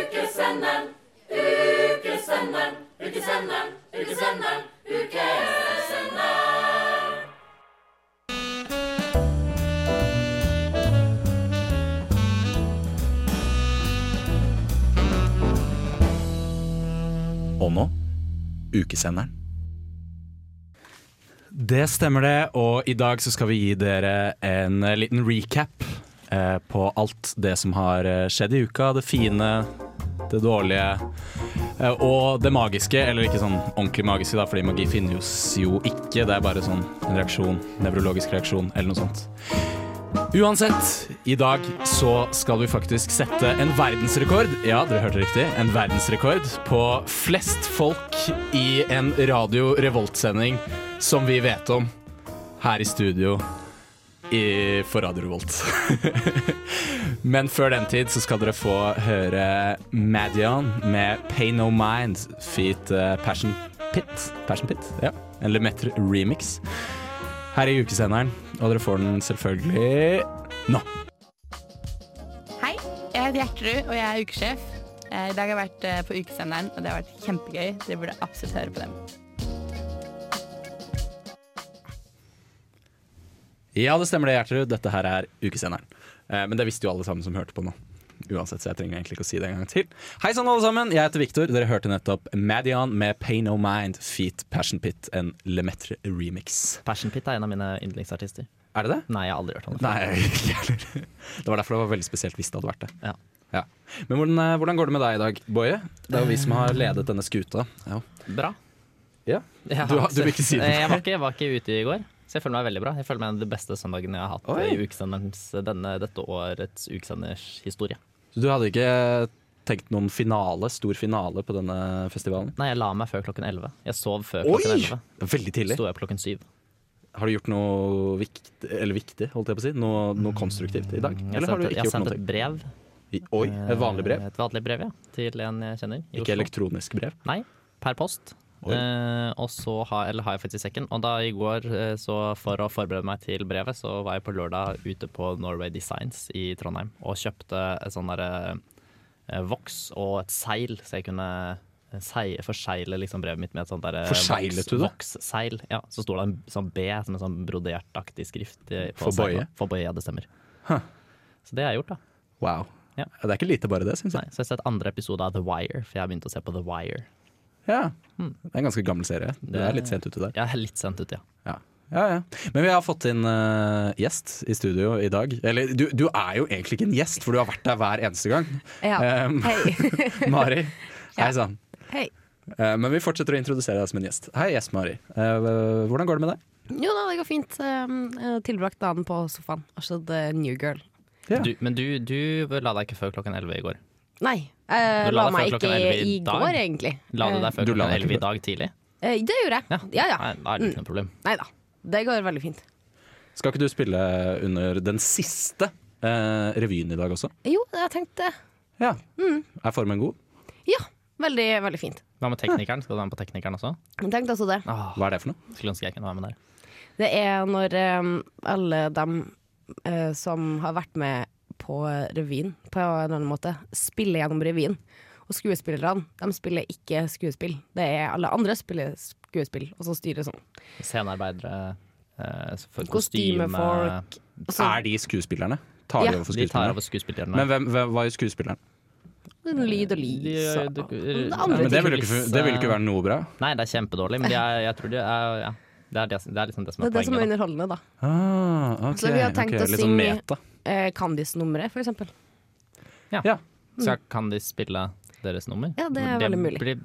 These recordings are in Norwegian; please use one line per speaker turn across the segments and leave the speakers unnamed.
Ukesenderen, ukesenderen, ukesenderen, ukesenderen, ukesenderen.
Og nå ukesenderen.
Det stemmer det, og i dag så skal vi gi dere en eh, liten recap eh, på alt det som har eh, skjedd i uka. Det fine, det dårlige eh, og det magiske. Eller ikke sånn ordentlig magiske, da, fordi magi finnes jo ikke. Det er bare sånn en reaksjon, nevrologisk reaksjon eller noe sånt. Uansett, i dag så skal vi faktisk sette en verdensrekord. Ja, dere hørte riktig. En verdensrekord på flest folk i en Radio Revolt-sending som vi vet om her i studio i, for Radio Revolt. Men før den tid så skal dere få høre Madian med 'Pay No Mind' feat. eh, Passion Pit. Passion Pit, ja. En Lemetre remix her i ukesenderen, og dere får den selvfølgelig nå.
Hei, jeg heter Gjertrud, og jeg er ukesjef. Eh, I dag har jeg vært eh, på ukesenderen, og det har vært kjempegøy. Dere burde absolutt høre på dem.
Ja, det stemmer det, Gjertrud. Dette her er ukesenderen. Eh, men det visste jo alle sammen som hørte på nå. Uansett, så jeg trenger egentlig ikke å si det en gang til. Hei sann, alle sammen. Jeg heter Viktor. Dere hørte nettopp Madian med 'Pay No Mind' feat. Passion Pit, en Lemetre remix.
Passion Pit er en av mine yndlingsartister.
Er det det?
Nei, jeg har aldri hørt om det.
Nei, ikke heller. Det var derfor det var veldig spesielt hvis det hadde vært det.
Ja.
Ja. Men hvordan, eh, hvordan går det med deg i dag, Boje? Det er jo vi som har ledet denne skuta. Eh. Ja.
Bra.
Ja.
Jeg har
Du har- du vil ikke si det?
Jeg var ikke, jeg var ikke ute i går, så jeg føler meg veldig bra. Jeg føler meg den beste søndagen jeg har hatt
Oi.
i ukesenderens, denne, dette årets ukesenders historie.
Så du hadde ikke tenkt noen finale, stor finale på denne festivalen?
Nei, jeg la meg før klokken 11. Jeg sov før
Oi!
klokken 11.
Veldig tidlig.
Sto jeg opp klokken 7.
Har du gjort noe viktig, eller viktig holdt jeg på å si, noe, noe konstruktivt i dag?
Mm, Jeg
Eller har du
sendte,
ikke
jeg
gjort
sendte
noe?
et brev.
I- Oi, et vanlig brev?
Eh, Et vanlig brev, ja. Til en jeg kjenner. i
Ikke
Oslo.
elektronisk brev?
Nei, per post.
Oi.
Eh, og så har, eller har jeg faktisk i sekken. Og da i går, eh, så for å forberede meg til brevet, så var jeg på lørdag ute på Norway Designs i Trondheim og kjøpte et sånn derre eh, voks og et seil, så jeg kunne eh, sei- forsegle liksom brevet mitt med et sånt derre
Forseglet du det?
Voksseil. Ja, så sto det en sånn B, som en sånn brodertaktig skrift. eh, på
For bøye?
seilet. For bøye, ja, det stemmer. Så det har jeg gjort, da.
Wow.
Ja.
Det er ikke lite bare det, syns
Nei,
jeg.
så jeg har sett andre episode av The Wire, for jeg har begynt å se på The Wire.
Ja. Det er en ganske gammel serie. Du er litt sent ute der.
Jeg Mm. er litt sent ute, ja.
Ja. Ja, ja. Men vi har fått inn eh, gjest i studio i dag. Eller du, du er jo egentlig ikke en gjest, for du har vært der hver eneste gang.
Ja.
Em,
Hei.
Mari, hei sann.
Hei.
Eh, men vi fortsetter å introdusere deg som en gjest. Hei, gjest Mari. Eh, hvordan går det med deg?
Jo da, det går fint. Um, eh, Tilbrakt dagen på sofaen og sett eh, New Girl.
Ja.
Du, men du, du la deg ikke før klokken 11 i går.
Nei, eh,
Du la
la
deg
meg
før
ikke
klokken 11
i
i dag?
går, egentlig.
La du
Eh,
deg før
Du la
klokken
deg
11
ikke
i
før.
dag tidlig?
eh, det gjorde jeg. Ja Mm. ja.
Nei, da er det ikke noe problem.
Nei da. Det går veldig fint.
Skal ikke du spille under den siste eh, revyen i dag også?
Jo, jeg tenkte
Ja.
Mm.
Er formen god?
Ja, veldig, veldig fint.
Hva med teknikeren? Skal du være med på teknikeren også?
Jeg tenkte også det.
Åh,
Hva er det for noe?
skulle ønske jeg kunne være med der.
Det er når em, alle dem eh, som har vært med på revyen, på en eller annen måte, spiller gjennom revyen. Og skuespillerne, de spiller ikke skuespill. Det er alle andre spiller skuespill, og så styrer sånn.
Scenearbeidere, eh, så for- kostyme
Kostymefolk. Og så
Er de skuespillerne? Tar
Altså- Ja.
de over for
De tar
skuespillerne?
over skuespillerne.
Men hvem, hvem var jo skuespilleren?
lyd og lys.
De-
og-
du-
det er
Men
andre
det
ting.
vil jo ikke, det vil jo ikke
eh,
være noe bra.
Nei, det er kjempedårlig, men de er, jeg tror de er, ja. det, er det, som- det er liksom det som
Det
er
er det som er
poenget. da.
underholdende, da.
Ah, ok,
Så Altså, vi har tenkt
ok,
å
litt sånn
synge-
meta.
Eh, Candice-nummeret, for eksempel.
Ja.
Så kan de spille deres nummer?
Mm. Ja, det er veldig mulig.
Blir,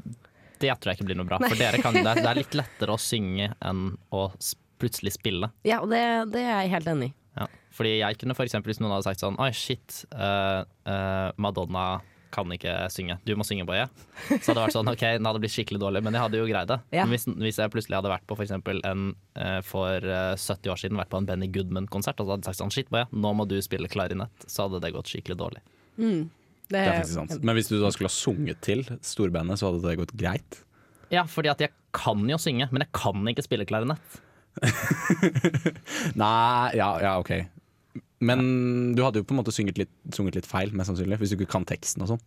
det tror jeg ikke blir noe bra. For dere kan, det, er, det er litt lettere å synge enn å s- plutselig spille.
Ja, og det, det er jeg helt enig i.
Ja. Fordi jeg kunne for eksempel hvis noen hadde sagt sånn Oi, shit, eh, eh, Madonna kan ikke synge. Du må synge, Boje. Så hadde det vært sånn, ok, nå hadde det blitt skikkelig dårlig, men jeg hadde jo greid det.
Ja.
Men Hvis, hvis jeg plutselig hadde vært på for eksempel en eh, for eh, 70 år siden vært på en Benny Goodman-konsert, og så hadde jeg sagt sånn, shit, Boje, nå må du spille klarinett, så hadde det gått skikkelig dårlig.
Det er
eh,
faktisk sant. Men hvis du da skulle ha sunget til storbandet, så hadde det gått greit?
Ja, fordi at jeg kan jo synge, men jeg kan ikke spille klarinett.
Nei, ja, ja, ok. Men du hadde jo på en måte sunget litt, sunget litt feil, mest sannsynlig, hvis du ikke kan teksten og sånn.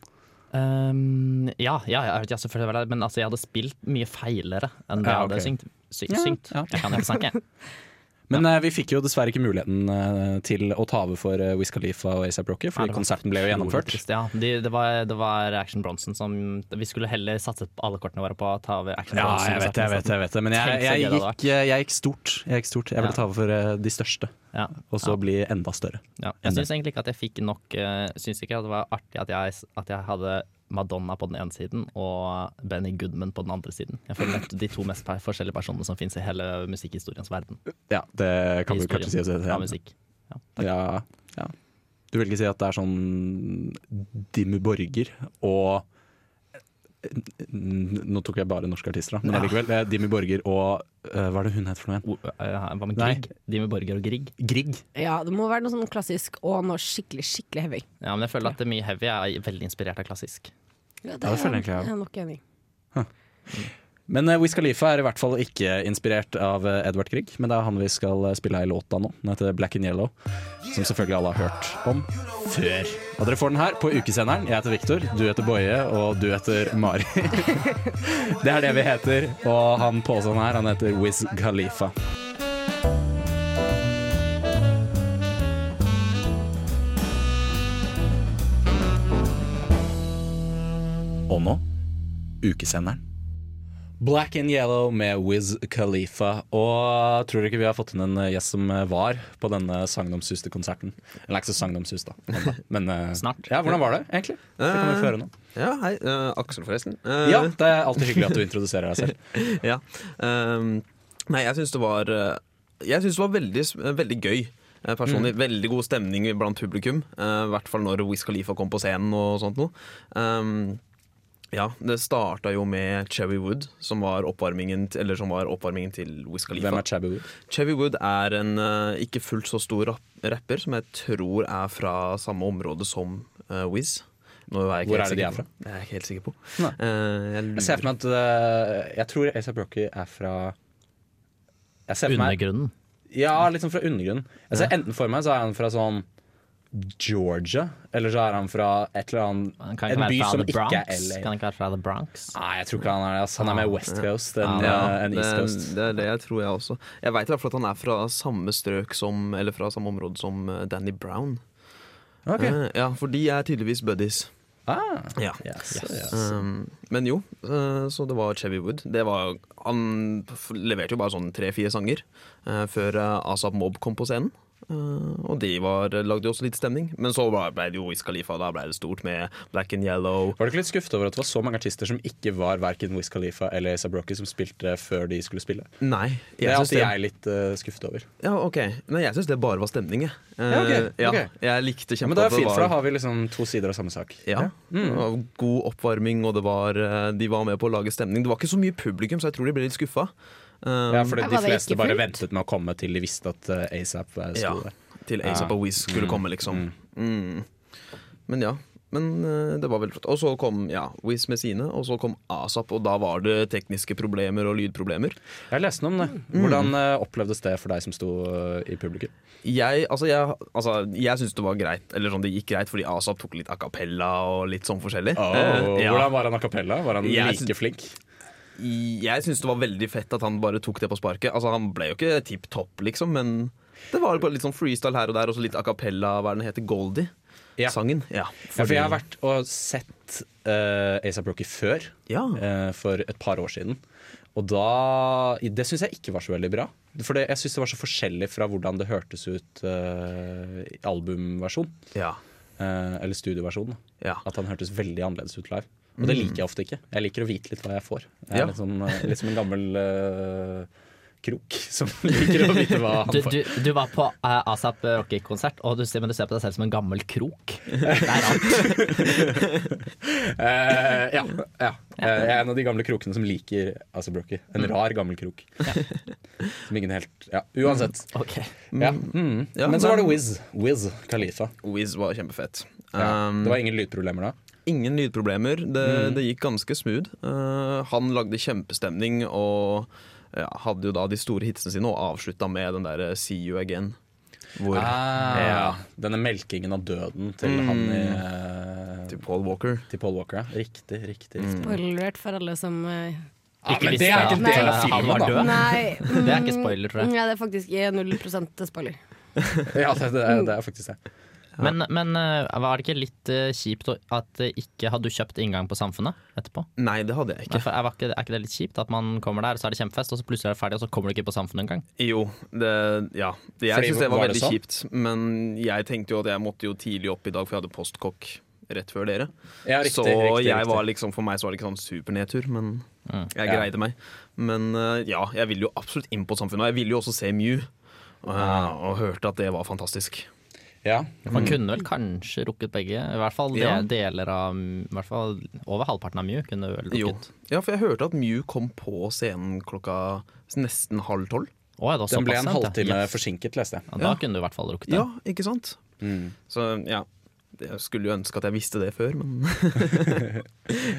Um, ja, ja, ja, ja, selvfølgelig var det det, men altså, jeg hadde spilt mye feilere enn det
Ja, ok.
jeg hadde syngt. Sy syngt.
ja.
Jeg kan ikke snakke.
Men eh, vi fikk jo dessverre ikke muligheten eh, til å ta over for eh, Wiz Khalifa og ASAP Rocky,
Nei,
fordi
det var
konserten ble jo gjennomført.
Trist, ja. De, det, var, det var Action Bronson som Vi skulle heller satse alle kortene våre på å ta over Action liksom.
Ja,
Bronson.
jeg vet det, jeg vet det. Jeg vet det. Men jeg,
Tenk så gøy
jeg,
det hadde
gikk, eh, jeg gikk stort. Jeg gikk stort. Jeg
Ja.
ville ta over for eh, de største,
Ja,
og så bli enda større.
ja. Jeg syns egentlig ikke at jeg fikk nok eh, Syns ikke at det var artig at jeg, at jeg hadde Madonna på den ene siden og Benny Goodman på den andre siden. Jeg føler at De to mest per- forskjellige personene som fins i hele musikkhistoriens verden.
Ja, det kan du
Historien
kanskje si. at det
av
er.
musikk. Ja, takk.
Ja, ja. Du vil ikke si at det er sånn Dimmu Borger og eh, N- Nå tok jeg bare norske artister, da, men allikevel. Det er Dimmu Borger og eh, Hva er det hun heter for noe igjen?
O- eh, Hva med
Nei.
Grieg? De med Borger og Grieg?
Grieg.
Ja, det må være noe sånn klassisk og noe skikkelig, skikkelig heavy.
Ja, men jeg føler at det er mye heavy er veldig inspirert av klassisk.
Ja,
det føler jeg egentlig jeg
er nok enig. i.
Men uh, Wiz Khalifa er i hvert fall ikke inspirert av eh, Edvard Grieg, men det er han vi skal eh, spille ei låt av nå. Den heter Black and Yellow, som selvfølgelig alle har hørt om før. Og dere får den her på ukesenderen. Jeg heter Viktor, du heter Boje, og du heter Mari. det er det vi heter. Og han påsen her, han heter Wiz Khalifa.
Og nå ukesenderen.
Black and Yellow med Wiz Khalifa. Og tror dere ikke vi har fått inn en eh, gjest som eh, var på denne sagnomsuste-konserten? Eller ikke så sagnomsust, da. men- Men, eh,
Snart.
Ja, hvordan var det, egentlig? Det kan vi få høre nå.
Ja, hei. eh, Aksel, forresten. Eh,
Ja, det er alltid hyggelig at du introduserer deg selv.
ja. Ehm, nei, jeg syns det var eh, Jeg syns det var veldig, s- eh, veldig gøy. eh,
Mm.
Personlig, Veldig god stemning blant publikum. eh, I hvert fall når Wiz Khalifa kom på scenen og sånt noe. Ehm, ja, det starta jo med Chevy Wood, som var oppvarmingen, til- eller som var oppvarmingen til Wiz Khalifa.
Hvem er Chabby Wood?
Chevy Wood er en eh, ikke fullt så stor rap rapper som jeg tror er fra samme område som uh, Wiz. Nå er jeg ikke
Hvor
helt
er det de
sikker
er fra?
på. Jeg er ikke helt sikker på.
Nei.
Eh, jeg
Jeg ser for
lurer.
meg at eh, Jeg tror ASAP Rocky er fra jeg ser for meg,
Undergrunnen.
Ja, litt sånn fra undergrunnen. Jeg ser Enten for meg så er han fra sånn Georgia, eller så er han fra et eller
Han
annet
kan ikke
En
være
by
fra
som
The
ikke
Bronx.
er LA.
Kan ikke være fra The Bronx.
Nei, jeg tror ikke han er det. ass. Han er mer West Coast enn
Ja,
eh, enn
det,
East Coast.
det er det jeg tror jeg også. Jeg veit i hvert fall at han er fra samme strøk som Eller fra samme område som eh, Danny Brown.
Ok.
Eh, ja, for de er tydeligvis buddies.
Ah,
Ja.
yes, yes.
Um, men jo, eh, så det var Chevy Wood. Det var, han f- leverte jo bare sånn tre-fire sanger eh, før eh, ASAP Mob kom på scenen. Eh, og de var, lagde jo også litt stemning. Men så ble ble det jo Wiz Khalifa. Da ble det stort med Black and Yellow.
Var du ikke litt skuffet over at det var så mange artister som ikke var verken Wiz Khalifa eller ASAP Rocky, som spilte før de skulle spille?
Nei,
Det
jeg
er
syns
alltid
det,
jeg litt eh, skuffet over.
ja, ok. Nei, jeg synes det bare var stemning, jeg. Eh,
Ja, ok,
ja,
ok.
jeg likte
Ja,
kjempegodt.
men det er fint, for da har vi liksom to sider av samme sak.
Ja.
Mm.
Det var god oppvarming, og det var, eh, de var med på å lage stemning. Det var ikke så mye publikum, så jeg tror de ble litt Eh, skuffa.
Ja, for
Ja,
Um,
de
var det
fleste
ikke
bare
fullt?
ventet med å komme til de visste at eh, ASAP eh, sto
Ja,
der.
til ASAP og Wiz skulle komme, liksom. Mm. Men ja. Men eh, det var veldig flott. Og så kom ja, Wiz med sine, og så kom ASAP, og da var det tekniske problemer og lydproblemer.
Jeg leste noe om det.
Mm.
Hvordan eh, opplevdes det for deg som sto eh, i publikum?
Jeg, altså, jeg, altså, jeg syns det var greit, eller sånn det gikk greit, fordi ASAP tok litt a cappella og litt sånn forskjellig. Eh, ja.
Hvordan var han a cappella? Var han
Jeg
like
syns-
flink?
Jeg syns det var veldig fett at han bare tok det på sparket. Altså Han ble jo ikke tipp topp, liksom, men det var bare litt sånn freestyle her og der, og så litt a cappella, hva er den heter,
Ja.
Goldie-sangen. Ja.
Ja, for jeg har vært og sett uh, ASAP Rocky før,
Ja.
eh, for et par år siden. Og da Det syns jeg ikke var så veldig bra. For det, jeg syns det var så forskjellig fra hvordan det hørtes ut eh, i albumversjon.
ja.
eh, eller studioversjon. da.
Ja. Mm.
At han hørtes veldig annerledes ut live. Og det liker jeg ofte ikke. Jeg liker å vite litt hva jeg får. Jeg er
Ja.
litt, sånn, eh, litt som en gammel eh, krok som liker å vite hva han
Du,
får.
du, du var på eh, ASAP Rocky-konsert, og du, ser- men du ser på deg selv som en gammel krok. Det er rart.
Eh, ja. ja. Eh, jeg er en av de gamle krokene som liker Asa Brocky.
Mm.
En rar gammel krok. Som ingen helt Ja, uansett.
Ok.
Ja. Mm.
Ja,
Men så var det
men-
Wiz. Wiz Khalifa.
Wiz var kjempefett.
Ja.
Um,
Det var Mm. ingen lydproblemer da?
Ingen lydproblemer. Det, det gikk ganske smooth. Eh, han lagde kjempestemning og ja, eh, hadde jo da de store hitsene sine og avslutta med den derre 'See You Again'. Hvor
Ah,
ja,
Denne melkingen av døden til han i, eh,
Til Paul Walker.
til Paul Walker. Ja. Riktig, riktig.
Mm.
riktig.
Spoilert for alle som eh,
Ja,
Ikke visste at, eh, han var død.
Nei.
Det er ikke spoiler, tror jeg.
Nei, det er faktisk 0 spoiler.
Ja, det, det, er, det er faktisk det.
Men, men eh, var det ikke litt eh, kjipt å- at eh, ikke hadde du kjøpt inngang på Samfunnet etterpå?
Nei, det hadde jeg
Nei,
ikke.
for Er var ikke- er ikke det litt kjipt at man kommer der, så er det kjempefest, og så plutselig er det ferdig, og så kommer du ikke på Samfunnet engang?
Jo, det, ja. Jeg
Fordi,
syns det var,
var det
veldig
sånn?
kjipt. Men jeg tenkte jo at jeg måtte jo tidlig opp i dag, for jeg hadde postkokk rett før dere.
Ja, riktig,
så
riktig,
jeg
riktig.
var liksom, for meg så var det ikke sånn supernedtur, men jeg
Ja.
greide meg. Men eh, ja, jeg ville jo absolutt inn på samfunnet. Og jeg ville jo også se Mew, og,
Ah.
og hørte at det var fantastisk.
Ja.
Man kunne vel kanskje rukket begge, i hvert fall de,
Ja.
deler av i hvert fall Over halvparten av Mew kunne vel
Jo.
rukket.
Ja, for jeg hørte at Mew kom på scenen klokka nesten halv tolv.
Å, ja, det var
Den
såpass
ble en
sent, ja.
halvtime
Yes.
forsinket, leste jeg.
Ja, da
Ja.
kunne du i hvert fall rukket det.
Ja, ikke sant?
Mm.
Så ja, jeg skulle jo ønske at jeg visste det før, men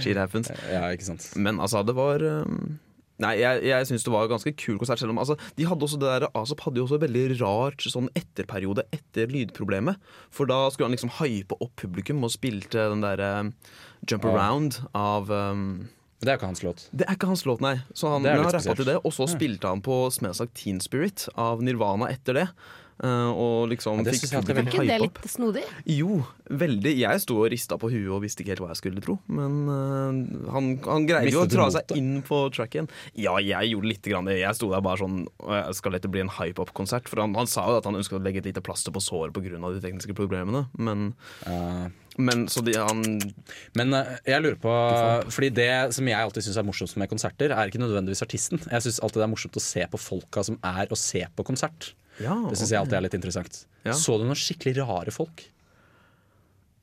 Shit happens.
Ja, ikke sant.
Men altså, det var um, Nei, jeg, jeg syns det var ganske kul konsert, selv om altså, de hadde også det der, Asap hadde jo også et veldig rart sånn etterperiode etter lydproblemet. For da skulle han liksom hype opp publikum og spilte den derre Jump
Ja.
Around av um,
Men det er jo ikke hans låt.
Det er ikke hans låt, nei. Så han,
Det er
men
litt
han rappa
spesielt.
til det, og så spilte han på Smells Like Teen Spirit av Nirvana etter det. Uh, og liksom
Ja, det
fikk
synes jeg alltid er
publikum
veldig-
Ikke det
hype opp.
litt snodig?
Jo, veldig. Jeg sto og rista på huet og visste ikke helt hva jeg skulle tro. Men øh, han, han greide jo å
Mistet du
dra
motet?
seg inn på tracken. Ja, jeg gjorde litt grann det. Jeg sto der bare sånn «Åh, Skal dette bli en hype-up-konsert? For han, han sa jo at han ønsket å legge et lite plaster på såret pga. de tekniske problemene. Men,
Eh,
men så de, han
Men eh, jeg lurer på Fordi det som jeg alltid syns er morsomst med konserter, er ikke nødvendigvis artisten. Jeg syns alltid det er morsomt å se på folka som er å se på konsert.
Ja.
Det syns jeg alltid er litt interessant.
Ja.
Så du noen skikkelig rare folk?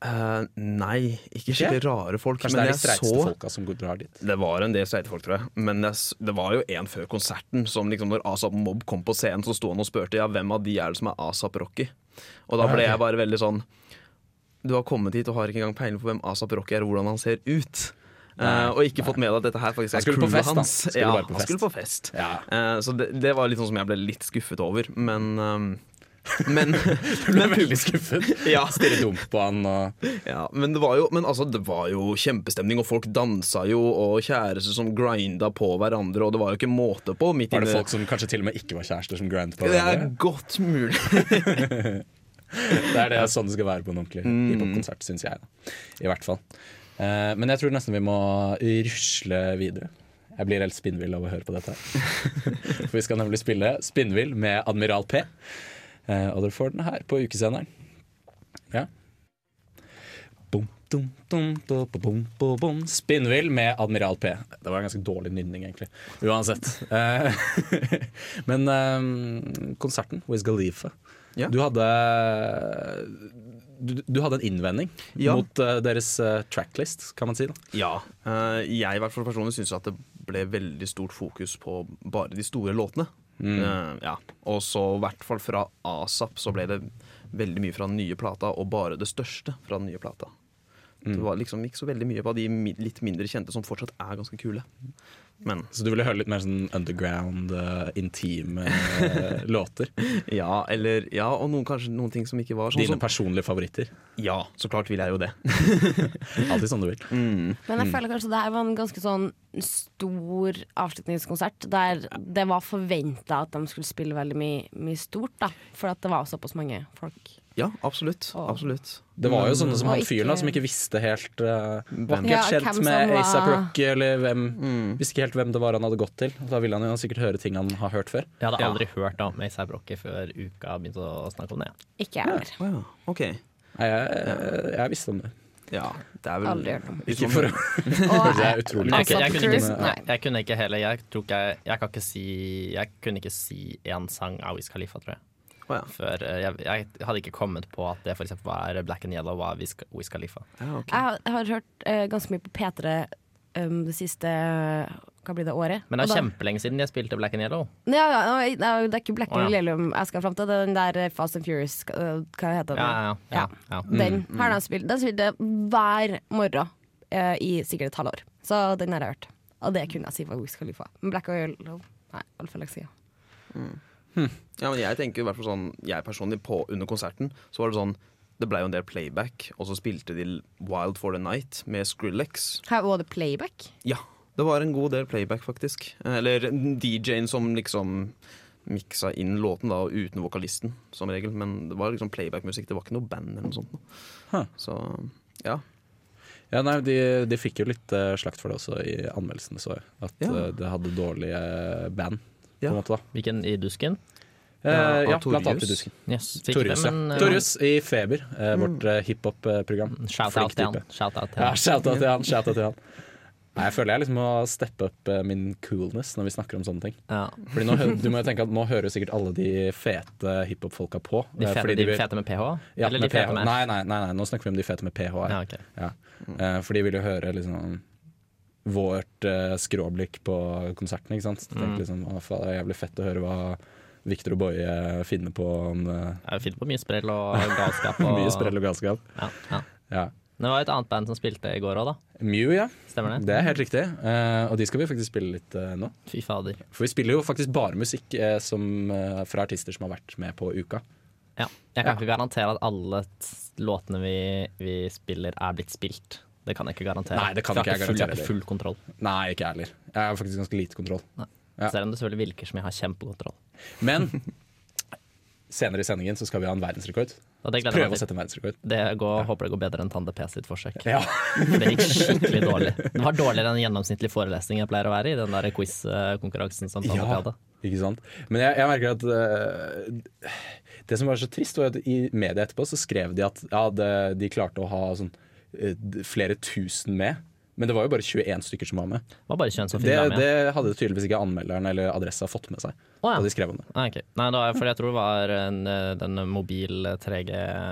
eh, nei, ikke skikkelig rare folk.
Kanskje
men
det er de
jeg
streiteste
så
folka som går- drar dit.
Det var en del streite folk, tror jeg. Men jeg, s- det var jo en før konserten som liksom når Asap Mobb kom på scenen, så sto han og spurte ja, hvem av de er det som er Asap Rocky. Og da ble jeg bare veldig sånn Du har kommet hit og har ikke engang peiling på hvem Asap Rocky er, og hvordan han ser ut. Eh, og ikke fått med deg at dette her faktisk
Han
er
skulle på
crewet
fest, da.
hans.
Skulle
Ja,
bare på
han
fest.
skulle på fest.
Ja.
Eh, så det, det var litt sånn som jeg ble litt skuffet over, men um, men, men,
Veldig skuffet.
ja,
Stirre dumt på han og
ja, men det var jo, men altså, det var jo kjempestemning, og folk dansa jo, og kjærester som grinda på hverandre, og det var jo ikke måte på. Midt
Var det
inne-
folk som kanskje til og med ikke var kjærester, som grind på
det er
hverandre?
godt mulig.
Det er det sånn det skal være på en ordentlig hiphop-konsert, syns jeg. Da. I hvert fall. Eh, men jeg tror nesten vi må rusle videre. Jeg blir helt spinnvill av å høre på dette. her For vi skal nemlig spille Spinnvill med Admiral P. Eh, og dere får den her på ukesenderen. Ja. Bom, dum, dum, do, bo, bom, bo, bom. Spinnvill med Admiral P. Det var en ganske dårlig nynning, egentlig. Uansett. Eh, men eh, konserten, Wiz Khalifa.
Ja.
Du hadde du, du hadde en innvending
Ja.
mot eh, deres eh, tracklist, kan man si. da
Ja. eh, jeg i hvert fall personlig syns at det ble veldig stort fokus på bare de store låtene. Eh, ja. Og så i hvert fall fra ASAP så ble det veldig mye fra den nye plata, og bare det største fra den nye plata. Det var liksom ikke så veldig mye av de mi- litt mindre kjente som fortsatt er ganske kule. Men
Så du ville høre litt mer sånn underground, eh, intime eh, låter?
Ja, eller, ja og noen, kanskje noen ting som ikke var sånn.
Dine
Som,
personlige favoritter?
ja, så klart vil jeg jo det.
Alltid sånn du vil.
Men jeg føler kanskje det her var en ganske sånn stor avslutningskonsert. Der det var forventa at de skulle spille veldig mye, mye stort, da. For at det var såpass mange folk.
Ja, absolutt. absolutt.
Det var jo sånne som
Og
han fyren da,
ikke-
som ikke visste helt eh, Var ikke
Ja,
helt kjent
hvem som
med
var-
ASAP Rocky, eller hvem Visste ikke helt hvem det var han hadde gått til. Da ville han jo sikkert høre ting han har hørt før.
Jeg hadde aldri hørt om A$AP Rocky før uka begynte å snakke om det.
Ikke jeg heller.
Å ja, ok.
Nei, jeg, jeg, jeg visste om det.
Ja, det er vel
Aldri hørt om.
Ikke
for å-
Og
Det er utrolig
Jeg,
Altså,
jeg, kunne
Cruise?
ikke, nei,
Nei.
jeg kunne ikke heller Jeg, tror ikke jeg, jeg kan ikke si Jeg kunne ikke si én sang av Wiz Khalifa, tror jeg.
Å ja.
Før, eh, jeg, jeg hadde ikke kommet på at det for eksempel var Black and Yellow var Wiz Wiz Khalifa.
ja, ok.
jeg har, jeg har hørt eh, ganske mye på P3 um, det siste hva blir det, året.
Men det
Og
er
da-
kjempelenge siden jeg spilte Black and Yellow.
Ja, ja, nei, nei, det er ikke Black
Å, ja.
and Yellow jeg skal fram til. Det er den der eh, Fast and Furious, eh, hva heter den?
Ja, ja, ja, ja. Mm.
Den har de spilt. Den spilte hver morgen eh, i sikkert et halvår. Så den har jeg hørt. Og det kunne jeg si var Wiz Khalifa. Men Black and Yellow Nei, altfor lenge siden.
Ja, men jeg tenker i hvert fall sånn Jeg personlig på, Under konserten så var det sånn Det ble jo en del playback, og så spilte de Wild for the Night med Skrillex.
Her var det playback.
Ja, det var en god del playback, faktisk. Eller DJ-en som liksom miksa inn låten, da, og uten vokalisten, som regel. Men det var liksom playback-musikk, det var ikke noe band eller noe sånt. nå.
Huh.
Så ja.
Ja, nei, de, de fikk jo litt eh, slakt for det også i anmeldelsene, så jeg. At
Ja.
eh, det hadde dårlige eh, band, på
Ja.
en måte, da.
Hvilken i dusken?
Eh,
av
ja, blant annet i
Torjus.
Dusken.
Yes, fikk
Torjus,
det,
ja.
men, eh, Mm.
Torjus i Feber, eh, vårt eh, hiphop-program. Flink
Shout-out til
type.
han. Shout-out til
Ja,
han.
shout-out til han. Shout-out til han. Nei, jeg føler jeg liksom må steppe opp eh, min coolness når vi snakker om sånne ting.
Ja.
Fordi nå, hø- du må jo tenke at nå hører sikkert alle de fete hiphop-folka på.
De
eh,
fete,
fordi de
de
vil-
fete med ph?
ja,
Eller
med
de fete
PH.
med
Nei, nei, nei, nei, nå snakker vi om de fete med PH. her.
Ja, ok.
Ja. Eh, For de vil jo høre liksom vårt eh, skråblikk på konserten, ikke sant. Så
Mm.
tenker liksom, å, faen, det er jævlig fett å høre hva Victor og Boje finner på om eh,
Jeg er fint på mye sprell og galskap. Og,
mye sprell og galskap.
Ja, ja.
Ja.
Det var et annet band som spilte i går òg, da.
Mew, ja.
Stemmer det?
Det er helt riktig. Eh, og de skal vi faktisk spille litt eh, nå.
Fy fader.
For vi spiller jo faktisk bare musikk eh, som, eh, fra artister som har vært med på uka.
Ja. Jeg kan ikke garantere at alle t- låtene vi, vi spiller, er blitt spilt. Det kan jeg ikke garantere.
Nei, det kan
For
ikke jeg
har full-
garantere
har ikke full kontroll.
Nei, ikke jeg heller. Jeg har faktisk ganske lite kontroll. Ja.
Selv om det selvfølgelig virker som jeg har kjempekontroll.
Men senere i sendingen så skal vi ha en verdensrekord.
Og det gleder jeg
Prøve å
meg til.
sette en verdensrekord.
Det går, Håper det går bedre enn Tande P sitt forsøk.
Ja.
For det gikk skikkelig dårlig. Det var dårligere enn gjennomsnittlig forelesning jeg pleier å være i, den der quiz-konkurransen som Tande P hadde.
ikke sant? Men jeg, jeg merker at eh, Det som var så trist, var at i media etterpå så skrev de at ja, det, de klarte å ha sånn, eh, d- flere tusen med. Men det var jo bare 21 stykker som var med.
Det var bare kjønn som
Det,
fikk være med.
det hadde tydeligvis ikke anmelderen eller adressa fått med seg.
Å, ja.
Da de skrev om det.
Ah, ok. Nei, da, for jeg tror det var en, eh, den mobil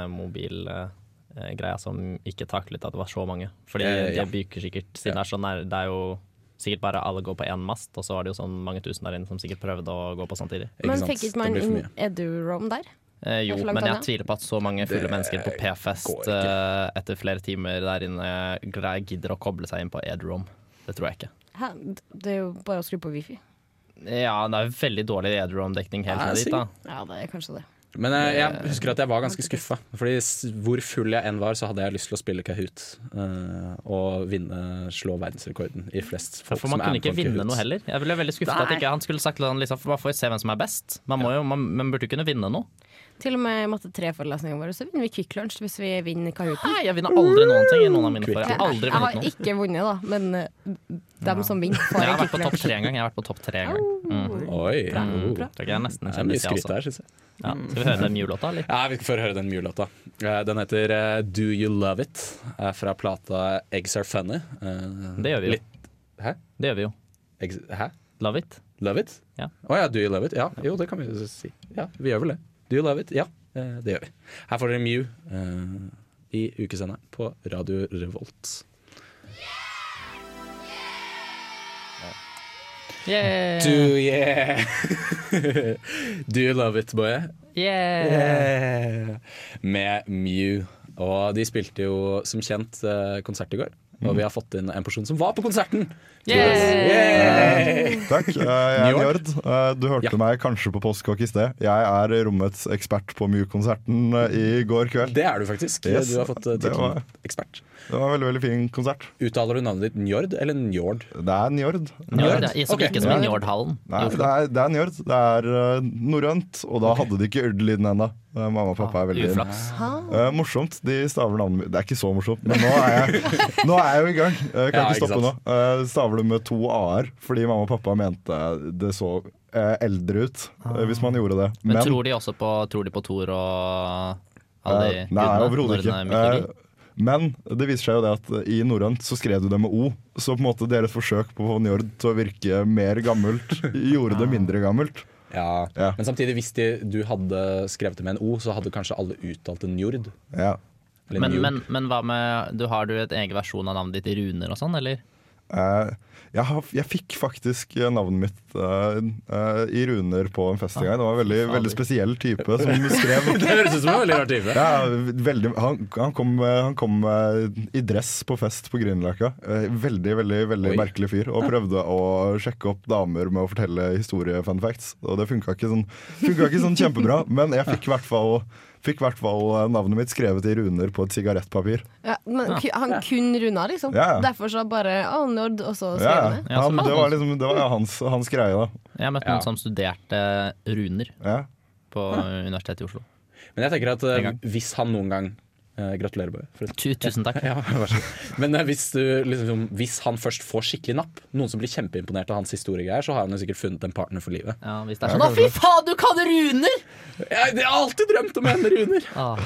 3G-mobil-greia eh, som ikke taklet at det var så mange. Fordi
Eh, ja.
de byker sikkert siden
Ja.
det er sånn der, det er jo sikkert bare alle går på én mast, og så var det jo sånn mange tusen der inne som sikkert prøvde å gå på samtidig.
Ikke
Men
sant?
fikk
Det
ikke man
blir for
inn
mye.
Eduroam der?
Eh, jo,
Det er for langt
men jeg
unna.
tviler på at så mange fulle mennesker på
går
P-fest eh, etter flere timer der inne grei- gidder å koble seg inn på Edrom. Det tror jeg ikke.
Hæ? Det er jo bare å skru på wifi.
Ja, det er veldig dårlig Edrom-dekning helt
Ja,
ned dit, da.
Ja, det er kanskje det.
Men eh, jeg, jeg husker at jeg var ganske skuffa. Fordi s- hvor full jeg enn var, så hadde jeg lyst til å spille Kahoot. eh, og vinne, slå verdensrekorden i flest
Ja,
folk
For man
som er
kunne
med på
ikke
en
vinne
Kahoot.
noe heller. Jeg ble veldig skuffet at ikke han skulle sagt til han liksom, for bare får vi se hvem som er best. Man, må jo, man, man burde jo kunne vinne noe.
Til og med i matte 3-forelesningen vår så vinner vi Kvikk Lunsj hvis vi vinner Kahooten.
Nei, jeg vinner aldri noen ting i noen av mine
Quick.
for. Jeg har aldri
jeg har
vunnet noe.
ikke vunnet, da, men eh, dem som vinner, får
Jeg har
en
vært på
Kvikk
topp
Lunsj.
tre en gang. Jeg har vært på topp tre en gang. Mm.
Oi, oh.
Tror ikke jeg er nesten
Det
en
er mye
kjendis, jeg
skryt
også.
her, syns jeg.
Ja. Skal vi høre den Mew-låta, eller?
Ja, vi skal få høre den Mew-låta. Eh, Den heter eh, Do You Love It eh, fra plata Eggs Are Funny. Eh,
Det gjør vi jo.
litt- Hæ?
Det gjør vi jo.
Eggs, hæ?
Love it.
Love It? Å
Ja.
ja, Do You Love It? Ja, jo, det kan vi jo si. Ja, vi gjør vel det. Do You Love It? Ja, eh, det gjør vi. Her får dere Mew eh, i ukesenderen på Radio Revolt.
Yeah.
Do yeah Do you love it, boy? Yeah. Med Mew. Og de spilte jo som kjent eh, konsert i går.
Mm.
Og vi har fått inn en person som var på konserten! Yeah.
Takk. Eh, Jeg er
Njord.
Njord. Eh, Du hørte
Ja.
meg kanskje på postkokk i sted. Jeg er rommets ekspert på Mew-konserten eh, i går kveld.
Det er du faktisk.
Yes,
Du har fått eh,
det var
tittelen
jeg.
ekspert.
Det var en veldig veldig fin konsert.
Uttaler du navnet ditt Njord eller Njord?
Det er Njord.
Njord, ja. Som
Ok.
Ikke som i
Ja.
Njordhallen.
Nei, det er, det er Njord. Det er eh, norrønt, og da hadde de ikke Ørd-lyden ennå. Eh, Mamma og pappa er veldig
Uflaks.
Eh, morsomt. De staver navnet mitt Det er ikke så morsomt, men nå er jeg, nå er jeg jo i gang. Jeg kan
Ja,
ikke
ikke
stoppe nå.
sant.
Eh, staver det med to a-er, fordi mamma og pappa mente det så eh, eldre ut eh, hvis man gjorde det.
Men tror de også på, tror de på Thor og alle de
Eh, Nei, overhodet ikke.
norrøne mytologi?
Eh, Men det viser seg jo det at eh, i norrønt så skrev du det med O. Så på en måte deres forsøk på å få Njord til å virke mer gammelt, gjorde det mindre gammelt.
Ja.
Ja.
Men samtidig, hvis de, du hadde skrevet det med en O, så hadde kanskje alle uttalt det Njord.
Ja.
Eller
Men,
Njord.
men, men hva med du, Har du et egen versjon av navnet ditt i runer og sånn, eller?
Eh, jeg, har, jeg fikk faktisk eh, navnet mitt eh, eh, i runer på en fest en gang. Det var en veldig, veldig spesiell type som skrev
Det høres ut som en veldig rar type.
ja, veldig, han, han kom, eh, han kom eh, i dress på fest på Grünerløkka. Eh, Veldig veldig, veldig
Oi.
merkelig fyr. Og prøvde å sjekke opp damer med å fortelle historiefun facts. Og det funka ikke, sånn, funka ikke sånn kjempebra, men jeg fikk i hvert fall Fikk i hvert fall eh, navnet mitt skrevet i runer på et sigarettpapir.
Ja, men ku- han kun runda, liksom.
Ja.
Derfor så bare Å, Nord, og så skrev
Ja,
han det.
Ja,
han,
så-
det var liksom det var hans, hans greie, da.
Jeg har møtt
Ja.
noen som studerte runer
Ja.
på Universitetet i Oslo.
Men jeg tenker at eh,
En gang.
hvis han noen gang eh, Gratulerer, Bøye. forresten.
Tu, tusen takk.
Ja, vær så god. Men eh, hvis, du, liksom, hvis han først får skikkelig napp, noen som blir kjempeimponert av hans historiegreier, så har han jo sikkert funnet en partner for livet.
Ja, hvis det er sånn Å, fy faen, du kan runer!
Jeg, jeg har alltid drømt om en runer!
Ah,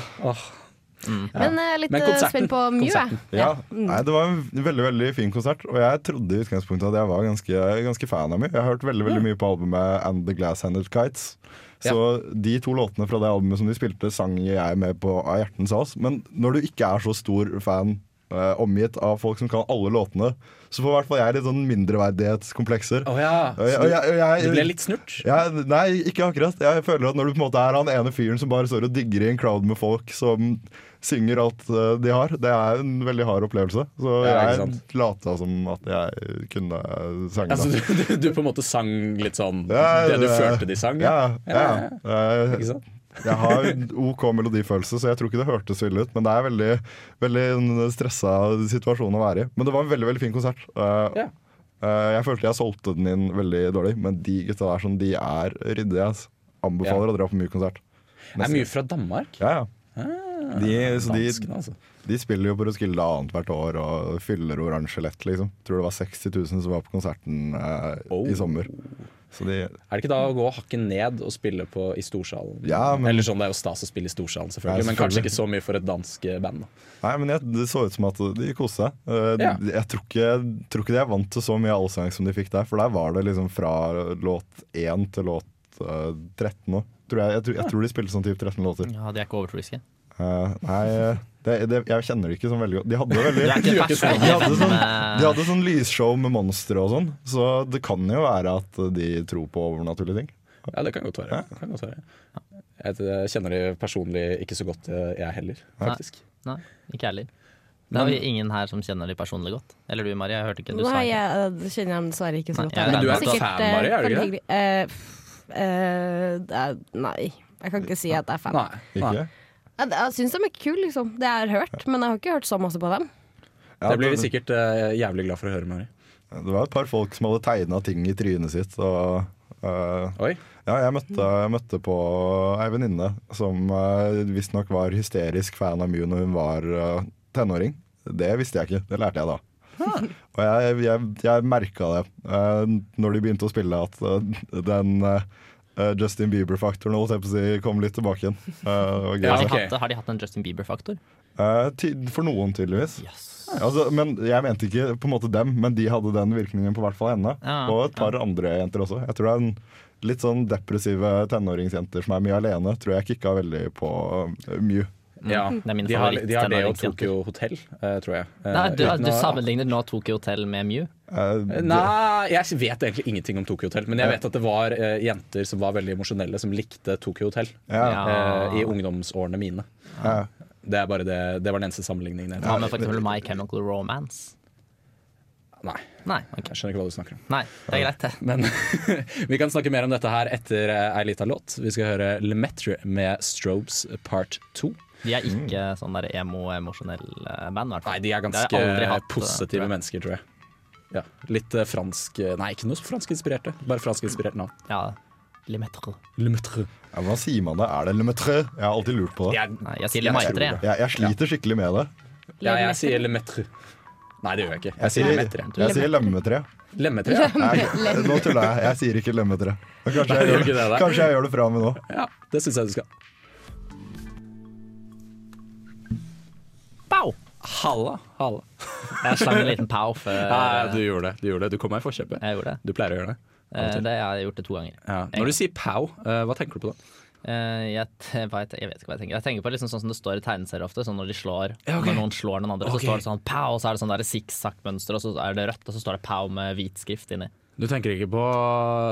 Men jeg er litt
Men
eh,
konserten-
spent på Mew, jeg.
konserten.
Ja.
Mm.
Nei, det var en veldig veldig fin konsert, og jeg trodde i utgangspunktet at jeg var ganske, ganske fan av meg. Jeg har hørt veldig
Mm.
veldig mye på albumet And The Glass-Handed Kites. Så de to låtene fra det albumet som de spilte, sang jeg med på av hjertens sas. Men når du ikke er så stor fan, eh, omgitt av folk som kan alle låtene, så får i hvert fall jeg litt sånn mindreverdighetskomplekser.
Å ja.
Og jeg- og jeg- og jeg-
Du ble litt snurt?
Ja, nei, ikke akkurat. Jeg føler at Når du på en måte er han ene fyren som bare står og digger i en crowd med folk som synger alt eh, de har, det er en veldig hard opplevelse. Så
Ja, ikke
jeg
sant.
lata som at jeg kunne eh, sangen.
Altså,
da.
du, du, du på en måte sang litt sånn
Ja,
det du
det-
følte de sang?
ja, ja, Eh,
Ikke sant?
jeg har OK melodifølelse, så jeg tror ikke det hørtes ille ut. Men det er veldig, veldig en stressa situasjon å være i. Men det var en veldig veldig fin konsert. Eh,
Ja.
eh, jeg følte jeg solgte den inn veldig dårlig, men de gutta der som de er ryddige. ass. Anbefaler å dra på mye konsert.
Det er mye fra Danmark.
Ja, ja. De, så de,
Danskene, Ah, altså.
de spiller jo på Roskilde annethvert år og fyller oransje lett, liksom. Tror det var 60 000 som var på konserten eh,
Oh.
i sommer. Så de
Er det ikke da å gå hakken ned og spille på, i storsalen?
Ja, men-
Eller sånn, Det er jo stas å spille i storsalen,
Ja,
selvfølgelig, men kanskje
selvfølgelig.
ikke så mye for et dansk band. Da.
Nei, men jeg, det så ut som at de koste seg. Eh,
Ja.
Jeg tror ikke, tror ikke de er vant til så mye allsang som de fikk der, for der var det liksom fra låt 1 til låt eh, 13 nå. Tror jeg, jeg, tror, jeg tror de spilte sånn typ 13 låter.
ja, de er ikke overtroiske.
Eh, nei, eh, det, det, jeg kjenner det ikke sånn veldig godt. De hadde veldig
Du er ikke
De hadde,
personlig
sånn, de
med
hadde sånn lysshow med monstre og sånn, så det kan jo være at de tror på overnaturlige ting.
Ja, det kan godt være. Det Kan godt være. Jeg eh, kjenner de personlig ikke så godt, eh, jeg heller, faktisk.
Nei, ikke jeg heller. Det har vi ingen her som kjenner de personlig godt. Eller du, Mari. Jeg hørte ikke du sa
Nei,
ikke.
jeg eh, kjenner ham dessverre ikke så
Nei,
godt.
jeg er
Men du er
Sikkert, eh,
fan, Mari, er du ikke det?
nei. Jeg kan ikke si at jeg er fan.
Nei. Nei.
Ikke?
Jeg, jeg syns de er kule, liksom. Det jeg har hørt, men jeg har ikke hørt så masse på dem.
Ja,
Det blir vi sikkert eh, jævlig glad for å høre, Mari.
Mm.
Det var et par folk som hadde tegna ting i trynet sitt. Og, eh,
Oi.
ja, jeg møtte, jeg møtte på ei venninne som uh, visstnok var hysterisk fan av Mew når hun var eh, tenåring. Det visste jeg ikke, det lærte jeg da. Og jeg, jeg, jeg merka det uh, når de begynte å spille, at eh, den eh, Justin Bieber-faktoren holdt jeg på å si, kom litt tilbake igjen. Eh, det var gøy.
Ja,
Har de,
ok.
hatt, har de hatt en Justin Bieber-faktor?
Eh, ty for noen, tydeligvis.
Yes.
Altså, men Jeg mente ikke på en måte dem, men de hadde den virkningen på hvert fall henne.
Ja,
og et par andre jenter også. Jeg tror det er en Litt sånn depressive tenåringsjenter som er mye alene, tror jeg kicka veldig på uh, Mew.
Ja,
Mm. Det er min
de, har,
favoritt
de har det og
tenåringsjenter.
Tokyo Hotel, eh, tror jeg. Eh,
Nei, du,
uten
du
å-
sammenligner nå Tokyo Hotel med Mew.
Eh, det-
Nei, jeg vet egentlig ingenting om Tokyo Hotel, men jeg vet at det var eh, jenter som var veldig emosjonelle, som likte Tokyo Hotel
ja,
eh, i ungdomsårene mine.
ja.
Det, er bare det, det var den eneste sammenligningen. jeg
Hva
tar.
med for eksempel My Chemical Romance?
Nei,
Nei, ok.
jeg skjønner ikke hva du snakker om.
Nei det er greit, det.
Men vi kan snakke mer om dette her etter eh, ei lita låt. Vi skal høre Lemetre med Strobes Part 2.
De er ikke sånn der emo-emosjonell eh, band, i hvert
Mm. Nei,
fall.
de er
Det har
ganske
jeg aldri hatt, eh, tror
positive
jeg.
mennesker, tror jeg. Ja, litt eh, fransk Nei, ikke noe franskinspirerte. Bare franskinspirert navn.
Ja, Limetro.
Lemetre.
Ja, Hva sier man det? Er det Lemetre? Jeg har alltid lurt på det.
Jeg,
Nei, jeg sier
Jeg
Jeg, tror
Lemaitre.
det. jeg, jeg sliter skikkelig med det.
ja, jeg sier Lemetre. Nei, det gjør jeg ikke. Jeg sier
Jeg
Lemetre.
jeg sier lemmetre.
Lemetre, ja.
Nei, Nå tuller jeg. Jeg sier ikke lemmetre. Men Kanskje
Nei,
jeg
gjør
gjør
ikke det
det,
der.
kanskje jeg gjør det fra og med nå.
ja det syns jeg du skal.
Pow!
Halla. Halla.
Jeg slang en liten pow før eh,
Nei, du gjorde det. Du gjorde det. Du kom meg i forkjøpet.
jeg gjorde det.
Du pleier å gjøre det.
Eh, det. Jeg har gjort det to ganger.
Ja. Når du sier pow, eh, hva tenker du på da?
Eh, jeg, t- hva jeg, te- jeg vet ikke hva jeg tenker. Jeg tenker på liksom sånn som det står i tegneserier ofte. Sånn når de slår
Ja, ok.
Når noen slår den andre,
Ok.
så står det sånn pow, og så er det sånn der sikksakk-mønster, og så er det rødt, og så står det pow med hvit skrift inni.
Du tenker ikke på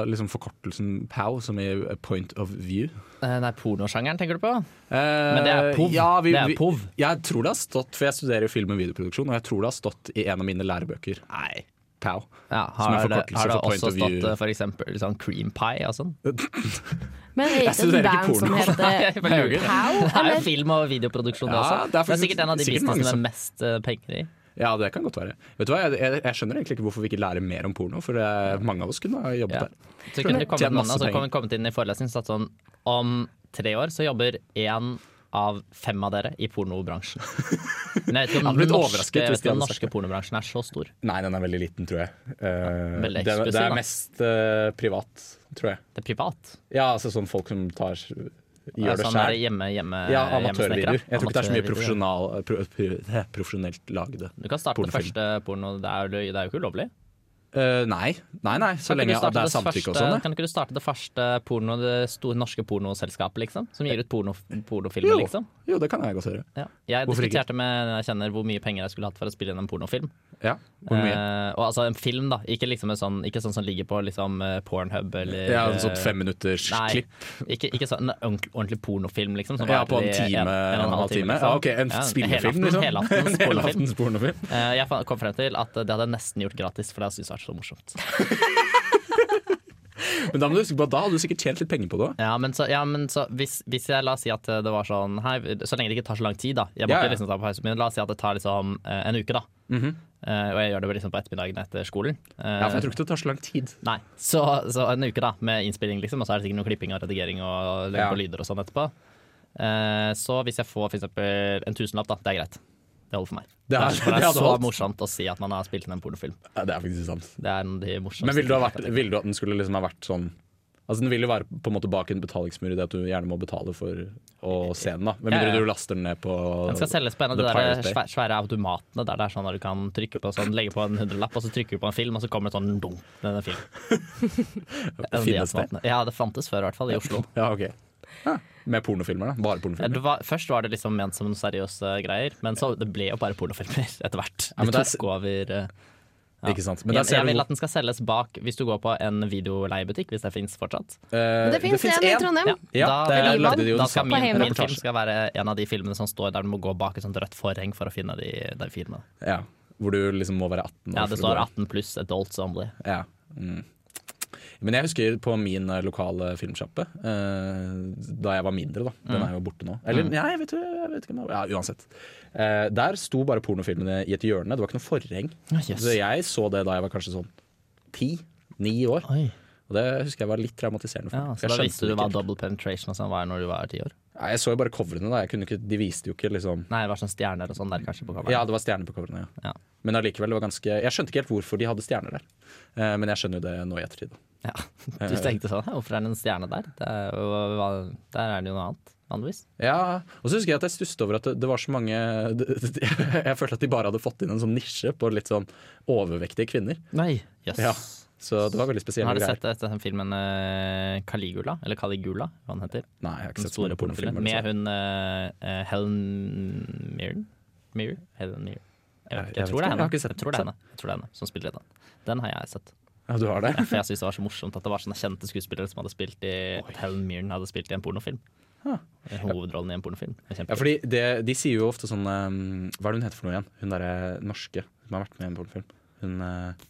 liksom, forkortelsen POW, som i eh, Point of View?
Eh, nei, pornosjangeren tenker du på?
Men
det er POV.
Eh, Ja, vi,
Det er
vi,
POV.
Jeg tror det har stått, for jeg studerer jo film og videoproduksjon, og jeg tror det har stått i en av mine lærebøker. Nei. Pow.
Ja,
Som en
har, det,
forkortelse
har det
for point
også
of view.
stått eh, for eksempel sånn cream pie og sånn?
Men er det ikke
studerer
en
ikke
band som
porno.
heter
Det er jo ikke-
Pow?
Det er jo film- og videoproduksjon det
Ja,
også.
det er
Det er
faktisk-
sikkert en av de
sikkert mange
businessene med
som-
mest eh, penger i.
Ja, det kan godt være. Vet du hva, jeg, jeg, jeg skjønner egentlig ikke hvorfor vi ikke lærer mer om porno, for eh, mange av oss kunne ha jobbet
Ja.
der.
Så kunne det kommet noen,
Tjener masse
altså,
penger.
kom, kommet inn i forelesning og sagt sånn Om tre år så jobber én av fem av dere i pornobransjen. Men jeg vet ikke
hadde
om
blitt
den
overrasket
norske,
hvis
jeg vet
de
ikke om
hadde
den
sagt det.
norske pornobransjen er så stor.
Nei, den er veldig liten, tror jeg. Eh,
Veldig
det, det
eksklusiv, da.
er mest eh, privat, tror jeg.
Det er privat.
Ja, altså sånn folk som tar gjør det
sånn der
sjøl.
hjemme, hjemme,
Ja,
hjemmesnekkere.
amatørvideoer. Jeg tror ikke det er så mye
Amatørvideoer.
profesjonal, pro, pro, profesjonelt lagde.
Du kan starte det
pornofilm.
første porno. Det er jo, det er jo ikke ulovlig.
Eh, nei. nei, nei, så
Kan ikke
lenge
du starte
det er
det
samtykke og
første-
sånn. ja.
Kan ikke du starte det første porno, det store norske pornoselskapet, liksom? Som gir ut porno, pornofilmer,
Jo.
liksom?
Jo, det kan jeg godt høre.
Ja. Jeg
Hvorfor ikke?
diskuterte med en jeg kjenner hvor mye penger jeg skulle hatt for å spille inn en pornofilm.
Ja, hvor mye?
Eh, og altså en film, da. Ikke, liksom en sånn, ikke sånn som ligger på liksom, eh, Pornhub eller
Ja, en sånn
eh,
femminutters
Nei,
klipp.
ikke, ikke sånn en ordent- ordentlig pornofilm, liksom. som
Ja,
varer
på en
i
time, en, og en halv time.
liksom.
Ja, ok, En
Ja,
spillefilm,
helaften-
liksom.
Helaftens
En
pornofilm.
helaftens pornofilm.
Eh, jeg fa- kom frem til at eh, det hadde jeg nesten gjort gratis, for det syns jeg har vært så morsomt.
Men da må du huske på at da hadde du sikkert tjent litt penger på det òg.
Ja, men, så, ja, men så, hvis, hvis jeg la oss si at det var sånn hei, Så lenge det ikke tar så lang tid, da. Jeg må
Ja, ja.
ikke liksom ta pause, men la oss si at det tar liksom eh, en uke, da. Eh, og jeg gjør det liksom på ettermiddagen etter skolen. Eh,
Ja, for jeg tror ikke det tar så lang tid.
Nei, så, så en uke da med innspilling, liksom, og så er det sikkert noe klipping og redigering og legge
Ja.
på lyder og sånn etterpå. Eh, så hvis jeg får for eksempel en tusenlapp, da, det er greit. Det holder for meg.
Det er-
for
det
det er
hadde
så
holdt.
morsomt å si at man har spilt inn en pornofilm.
Ja, det er faktisk sant.
Det er en av de morsomste
Men ville du, ha vært, ville du at den skulle liksom ha vært sånn Altså Den vil jo være på en måte bak en betalingsmur i det at du gjerne må betale for å se den. da Med
Ja,
mindre
ja.
du laster den ned på
Den skal selges på en av de
The
der
Pirate Bay.
svære, svære automatene der det er sånn at du kan trykke på sånn, legge på en hundrelapp, og så trykker du på en film, og så kommer det sånn dunk, den er film. En av de
Finnes det?
automatene. Ja, det fantes før, i hvert fall, i Oslo.
Ja, ok ja, Med pornofilmer, da. Bare pornofilmer.
Det var, først var det liksom ment som noen seriøse greier, men så det ble jo bare pornofilmer etter hvert.
Ja, men
De
det er-
tok over eh, ja.
Ikke sant? Men der
jeg,
ser
jeg
du
vil
hvor-
at den skal selges bak hvis du går på en videoleiebutikk, hvis det fins fortsatt.
Eh,
Det finnes en i Trondheim.
Ja,
Ja,
da,
det
er- lagde de jo en
da skal
sak på
min, min
Heimevernet.
film skal være en av de filmene som står der du må gå bak et sånt rødt forheng for å finne de, de filmene.
Ja, hvor du liksom må være 18 år
Ja, det
for å gå
står
der.
18 pluss adults only.
Ja. Mm. Men jeg husker på min eh, lokale filmsjappe, eh, da jeg var mindre, da.
Mm.
Den er jo borte nå. Eller nei, jeg vet, jo- jeg vet ikke om det var- Ja, uansett. Eh, der sto bare pornofilmene i et hjørne, det var ikke noe forheng.
Ja, jøss.
Så jeg så det da jeg var kanskje sånn ti, ni år.
Oi.
Og det husker jeg var litt traumatiserende for
Ah. Ja,
meg.
så
Jeg
da
skjønte
visste du
det
hva
ikke.
double penetration og sånn var når du var ti år?
Nei, Jeg så jo bare coverene, da. Jeg kunne ikke, de viste jo ikke liksom
Nei, det var sånn stjerner og sånn der kanskje på kameraet.
Ja, det var stjerner på coverene, ja.
Ja.
Men allikevel, det var ganske Jeg skjønte ikke helt hvorfor de hadde stjerner der. Eh, Men jeg skjønner jo det nå i ettertid. da.
Ja,
Eh.
du tenkte sånn, «Hæ, hvorfor er det en stjerne der? Det er, jo- hva- der er det jo noe annet, vanligvis.
Ja, og så husker jeg at jeg stusset over at det, det var så mange Jeg følte at de bare hadde fått inn en sånn nisje på litt sånn overvektige kvinner.
Nei. Yes.
Ja, Så det var veldig spesielle
Har du
greier.
sett etter den filmen eh, Caligula, eller Caligula, hva den heter?
Nei, jeg har ikke
Den
sett så mange
store pornofilmen. Med
pornofilmer. altså.
hun eh, eh, Helen Mirren? Mirren? Helen Mirren. Jeg,
Nei,
vet ikke,
jeg
jeg, tror det
vet
er
ikke, jeg
henne.
har ikke
Jeg
sett
tror det er henne. Jeg tror det er henne som spiller i den. Den har jeg sett.
Ja, du har det?
For jeg synes det var så morsomt at det var sånne kjente skuespillere som hadde spilt i at Helen Mirren hadde spilt i en pornofilm.
Huh.
Hovedrollen i en pornofilm. Det er
Ja,
kjempegøy.
fordi det, De sier jo ofte sånn um, Hva er det hun heter for noe igjen? Hun derre norske som har vært med i en pornofilm. Hun eh,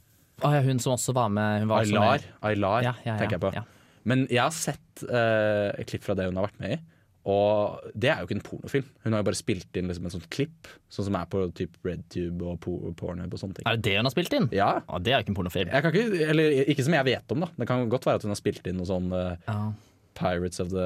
Å, ja, hun som også var med hun var også
Aylar,
med-
Aylar
Ja, ja, ja,
tenker jeg på.
ja.
Men jeg har sett eh, et klipp fra det hun har vært med i. Og det er jo ikke en pornofilm. Hun har jo bare spilt inn liksom en sånn klipp, sånn som er på typ RedTube og po- Pornhub og sånne ting.
Er det det hun har spilt inn?
Ja.
Å, det er jo ikke en pornofilm.
Jeg kan ikke, eller ikke som jeg vet om, da. Det kan godt være at hun har spilt inn noe sånn eh,
Ja.
Pirates of the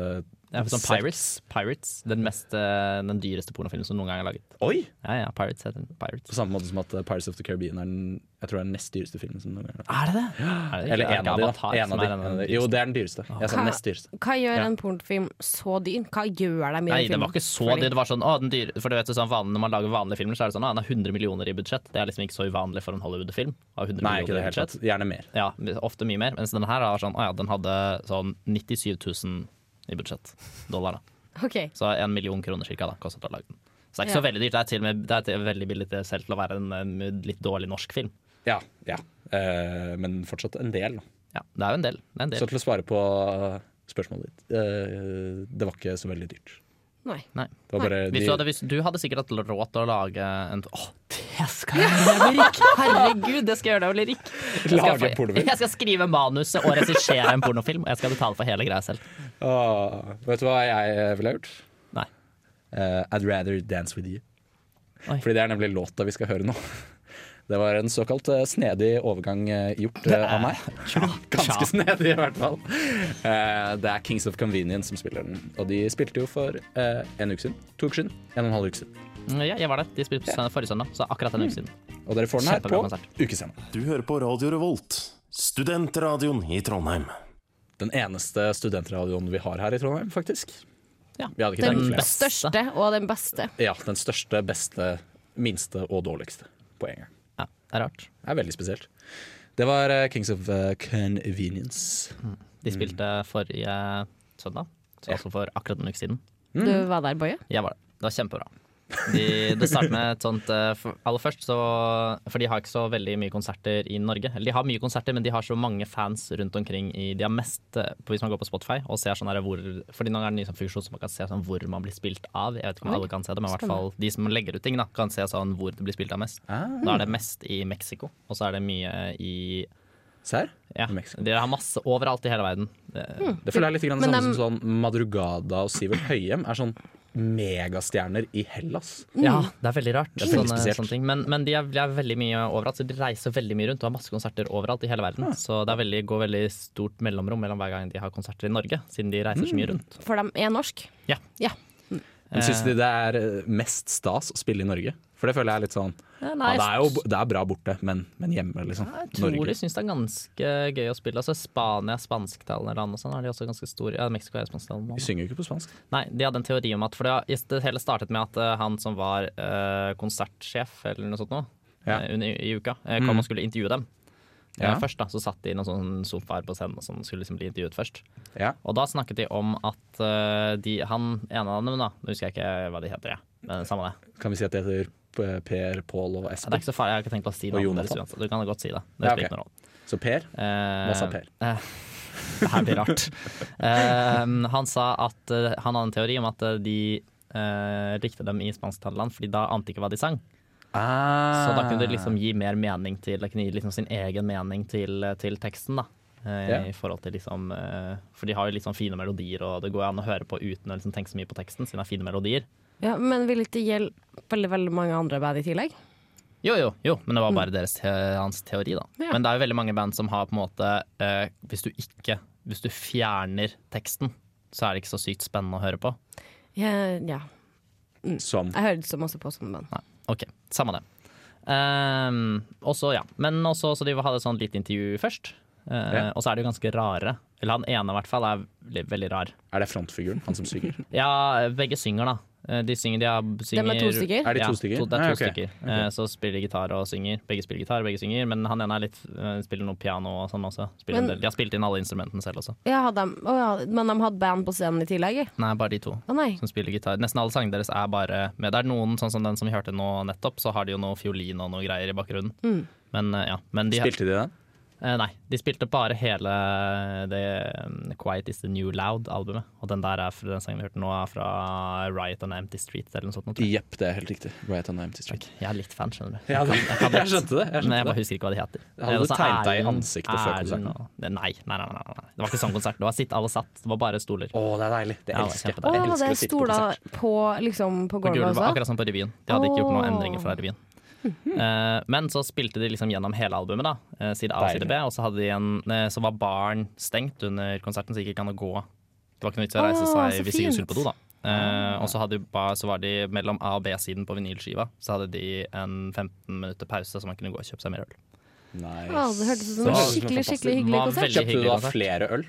Det er sånn
Sex.
Pirates. Pirates den, mest, eh, den dyreste pornofilmen som noen gang er laget.
Oi!
Ja, ja, Pirates heter den. Pirates.
På samme måte som at eh, Pirates of the Caribbean er den jeg tror er den nest dyreste filmen. Som noen gang. er laget.
Er det det? Er det ikke-
Eller
er det
en
ikke
av de, da.
Avatar
En
som
av
er
de.
den
En av de.
dyreste?
Jo, det er den dyreste. Jeg sa
Hva-
nest dyreste.
Hva gjør
Ja.
en pornofilm så dyr? Hva gjør de med
Nei, det
filmen?
var ikke så
Fordi-
dyrt. Det var sånn, å, den dyre, for du vet, jo sånn, vanlig, Når man lager vanlige filmer, så er det sånn at den har 100 millioner i budsjett. Det er liksom ikke så uvanlig for en Hollywood-film. å ha 100
Nei,
millioner
ikke det
i
hele
budsjett.
tatt. Gjerne mer.
Ja, ofte mye mer. Mens denne her var sånn, å, ja, den hadde sånn 97 000 i budsjett. Dollar, da.
OK.
Så en million kroner cirka, da, kostet det å lage den. Så det er ikke så veldig dyrt. Det er, til og med, det er til, veldig billig til selv til å være en eh, litt dårlig norsk film.
Ja, ja. Eh, men fortsatt en del. da.
Ja, det er jo en del. Det er en del.
Så til å svare på spørsmålet ditt. eh, det var ikke så veldig dyrt.
Nei.
Nei.
Det var bare de,
Hvis du, hadde, hvis du hadde sikkert hatt råd til å lage en Åh, det skal jeg gjøre når jeg blir rik! Herregud, det skal jeg gjøre når jeg blir rik! Jeg skal,
Lage
få-
en pornofilm.
Jeg skal skrive manuset og regissere en pornofilm, og jeg skal betale for hele greia selv.
Åh, Vet du hva jeg ville ha gjort?
Nei.
Eh, I'd rather dance with you.
Oi.
Fordi det er nemlig låta vi skal høre nå. Det var en såkalt eh, snedig overgang eh, gjort eh, av meg. Ganske
tja.
snedig, i hvert fall. Eh, det er Kings of Convenience som spiller den. Og de spilte jo for eh, en uke siden. To uker siden. En og en halv uke siden.
Mm, Ja, jeg var der. De spilte på forrige søndag, så akkurat en uke siden.
Og dere får den her
Kjempebra
på
konsert.
ukesenderen.
Du hører på Radio Revolt, studentradioen i Trondheim.
Den eneste studentradioen vi har her i Trondheim, faktisk.
Ja.
Vi hadde ikke
Den
tenkt flere.
beste.
største og den beste.
Ja, den største, beste, minste og dårligste på en gang.
Ja, det er rart.
Det er veldig spesielt. Det var eh, Kings of eh, Convenience.
De spilte forrige søndag, så altså for akkurat en uke siden.
Mm.
Du var der, Boje?
Jeg var der. Det var kjempebra. De, det startet med et sånt eh, for- Aller først så For de har ikke så veldig mye konserter i Norge. Eller de har mye konserter, men de har så mange fans rundt omkring i De har mest eh, på- Hvis man går på Spotify og ser sånn her hvor Fordi nå er det en ny sånn funksjon som man kan se sånn hvor man blir spilt av. Jeg vet ikke om
Oi,
alle kan se det, men i hvert fall
spennende. Ah.
de som legger ut ting, da kan se sånn hvor det blir spilt av mest. Da er det mest i Mexico, og så er det mye i
Se her.
Ja,
I Mexico.
de har masse overalt i hele verden. Eh,
Hmm.
Det føler jeg er litt grann det
Men
samme
dem-
som sånn Madrugada og Sivert Høyem er sånn megastjerner i Hellas.
Ja, det er veldig rart.
Det er veldig
sånne,
spesielt.
sånne ting. Men, men de, er, de er veldig mye overalt, så de reiser veldig mye rundt og har masse konserter overalt i hele verden. Så det er veldig, går veldig stort mellomrom mellom hver gang de har konserter i Norge, siden de reiser
Mm.
så mye rundt.
For de er norsk.
Ja.
Ja.
Men Syns de det er eh, mest stas å spille i Norge? For det føler jeg er litt sånn Ja,
nei,
det er jo det er bra borte, men, men hjemme, liksom.
Jeg tror
Norge.
de syns det er ganske gøy å spille. Altså Spania, spansktalende land og sånn, er de også ganske store. Ja, Mexico er spansktalende
De
land.
synger jo ikke på spansk.
Nei, de hadde en teori om at For det, det hele startet med at eh, han som var eh, konsertsjef eller noe sånt nå,
Ja. Mm.
eh, under, i uka, eh, kom og skulle intervjue dem. Eh,
Ja.
Først da, så satt de i noen sånne sofaer på scenen som skulle liksom bli intervjuet først.
Ja.
Og da snakket de om at eh, de, han ene av dem, da, nå husker jeg ikke hva de heter, jeg. men samme det.
Kan vi si at det heter eh, Per, Pål og
Det er
Espen?
ikke så farlig, jeg har ikke tenkt å si
Og
noe om det.
Jonathan.
uansett. Du kan godt si det. Det
Ja,
spiller
ok.
ikke noen rolle.
Så Per?
Eh,
Hva sa Per?
eh, det her blir rart. Eh, han sa at eh, han hadde en teori om at eh, de eh, likte dem i spansktalende land, fordi da ante de ikke hva de sang. Så da
Ah.
kunne de liksom gi mer mening til Da kunne de gi liksom sin egen mening til, til teksten, da. Eh,
Ja.
I forhold til liksom eh, For de har jo litt sånn fine melodier, og det går an å høre på uten å liksom tenke så mye på teksten, siden det er fine melodier.
Ja, men vil ikke det gjelde veldig veldig mange andre band i tillegg?
Jo, jo, jo, men det var bare deres te hans teori, da.
Ja.
Men det er jo veldig mange band som har på en måte eh, Hvis du ikke Hvis du fjerner teksten, så er det ikke så sykt spennende å høre på.
Ja, ja.
Ah. Som
Jeg hørte så masse på sånne band.
Nei. OK, samme det. Ehm, og så, ja. Men også, så de hadde sånn lite intervju først. Eh,
Ja.
Og så er de jo ganske rare. Eller han ene, i hvert fall, er veldig, veldig rar.
Er det frontfiguren, han som synger?
Ja, begge synger, da. Eh, De synger, de har, synger
to stykker?
Er de
ja,
to stykker?
det er
Ah,
to
ok.
stykker. Eh, Så spiller de gitar og synger. Begge spiller gitar, begge synger. Men han ene er litt, eh, spiller noe piano og sånn også. Spiller en
Men-
del. De har spilt inn alle instrumentene selv også.
Ja, de, å ja, men de hadde band på scenen i tillegg? ja.
Nei, bare de to
Å nei.
som spiller gitar. Nesten alle sangene deres er bare med. Det er noen, sånn som den som vi hørte nå nettopp, så har de jo noe fiolin og noe greier i bakgrunnen. Men eh, ja. Men de,
Spilte de den?
Eh, nei, de spilte bare hele det um, Quiet Is The New Loud-albumet. Og den der er fra, den sangen vi hørte nå, er fra Riot On Empty Street eller noe sånt. nå, tror jeg.
Jepp, det er helt riktig. Right on the empty street.
Jeg er litt fan, skjønner du.
Ja, det, jeg skjønte det.
Men jeg
Jeg skjønte
bare
det.
husker ikke hva de heter.
Hadde
Eh,
du
så
tegnet deg i
Erlend-
ansiktet før
Erlend
konserten?
og- Nei, nei, nei, nei, nei, nei. Det var ikke sånn konsert. Det var sitt, alle satt. Det var bare stoler.
Å, det er deilig. Det
Ja, det er
elsker jeg.
kjempedeilig.
Å,
Jeg
var
elsker
det
å sitte på
stoler
konsert.
på, liksom, på
På
gulvet
gulvet,
også?
akkurat som på revyen. De hadde ikke gjort noen
Åh. Mhm.
endringer fra revyen. Eh, men så spilte de liksom gjennom hele albumet, da. eh, side A og side B. Og så, hadde de en, eh, så var baren stengt under konserten, så det gikk ikke an å gå. Det var ikke noe vits i å
Åh,
reise seg
så
hvis ikke du
fint. Ah.
skulle på do, da. Eh, og så, hadde, de ba- så var de mellom A- og B-siden på vinylskiva. Så hadde de en 15 minutter pause, så man kunne gå og kjøpe seg mer øl.
Ja, det hørtes ut som
Det
en
var
skikkelig skikkelig
fantastisk.
Det
hyggelig
var
konsert.
veldig-
Kjøpte du
hyggelig
da
konsert.
flere øl,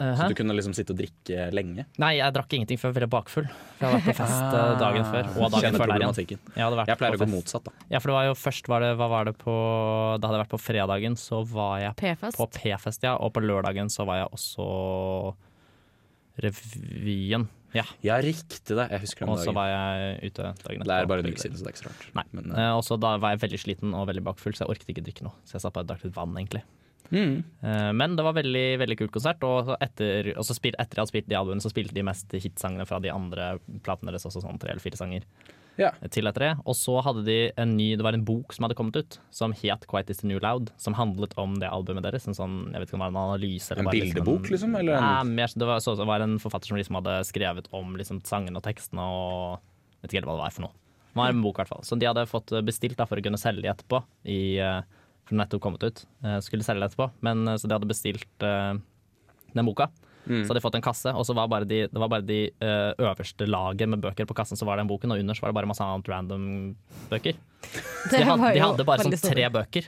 Eh,
så
hæ?
du kunne liksom sitte og drikke lenge?
Nei, jeg drakk ingenting før jeg var veldig bakfull. For jeg var på fest eh, dagen før. Og dagen før
Kjenner
der igjen.
problematikken.
Jeg, hadde vært
Jeg pleier
på
å gå
fest.
motsatt, da.
Ja, for det var jo først var det, hva var det på Da hadde jeg vært på fredagen, så var jeg
P-fest.
på P-fest, ja. Og på lørdagen så var jeg også revyen. Ja.
Ja, riktig det. Jeg husker
Og så
den dagen.
var jeg ute dagen
Det er bare en
og
uke siden, så det er ikke så rart.
Nei.
Men,
Eh, og så da var jeg veldig sliten og veldig bakfull, så jeg orket ikke drikke noe. Så jeg satt bare og drakk litt vann, egentlig.
Mm.
Eh, men det var veldig veldig kult konsert, og så etter, og så spil, etter jeg hadde spilt de albumene, så spilte de mest hitsangene fra de andre platene deres, også sånn tre eller fire sanger
Ja.
til etter det. Og så hadde de en ny, det var en bok som hadde kommet ut, som het 'Quiet is the New Loud', som handlet om det albumet deres. En sånn, jeg vet ikke om det var en analyse eller
En
bare liksom
bildebok, liksom, eller en-
Nei, mer, det var, så, det var en forfatter som liksom hadde skrevet om liksom, sangene og tekstene og jeg Vet ikke helt hva det var for noe. Det var en bok, i hvert fall. Så de hadde fått bestilt da, for å kunne selge de etterpå. I, eh, for den nettopp kommet ut. Eh, Skulle selge det etterpå, men eh, så de hadde bestilt eh, den boka. Så hadde de fått en kasse, og så var bare de, det var bare de eh, øverste laget med bøker på kassen, så var den boken, og under så var det bare masse annet random bøker. Så de, hadde,
var
de
jo
hadde bare
veldig
sånn tre
stort.
bøker.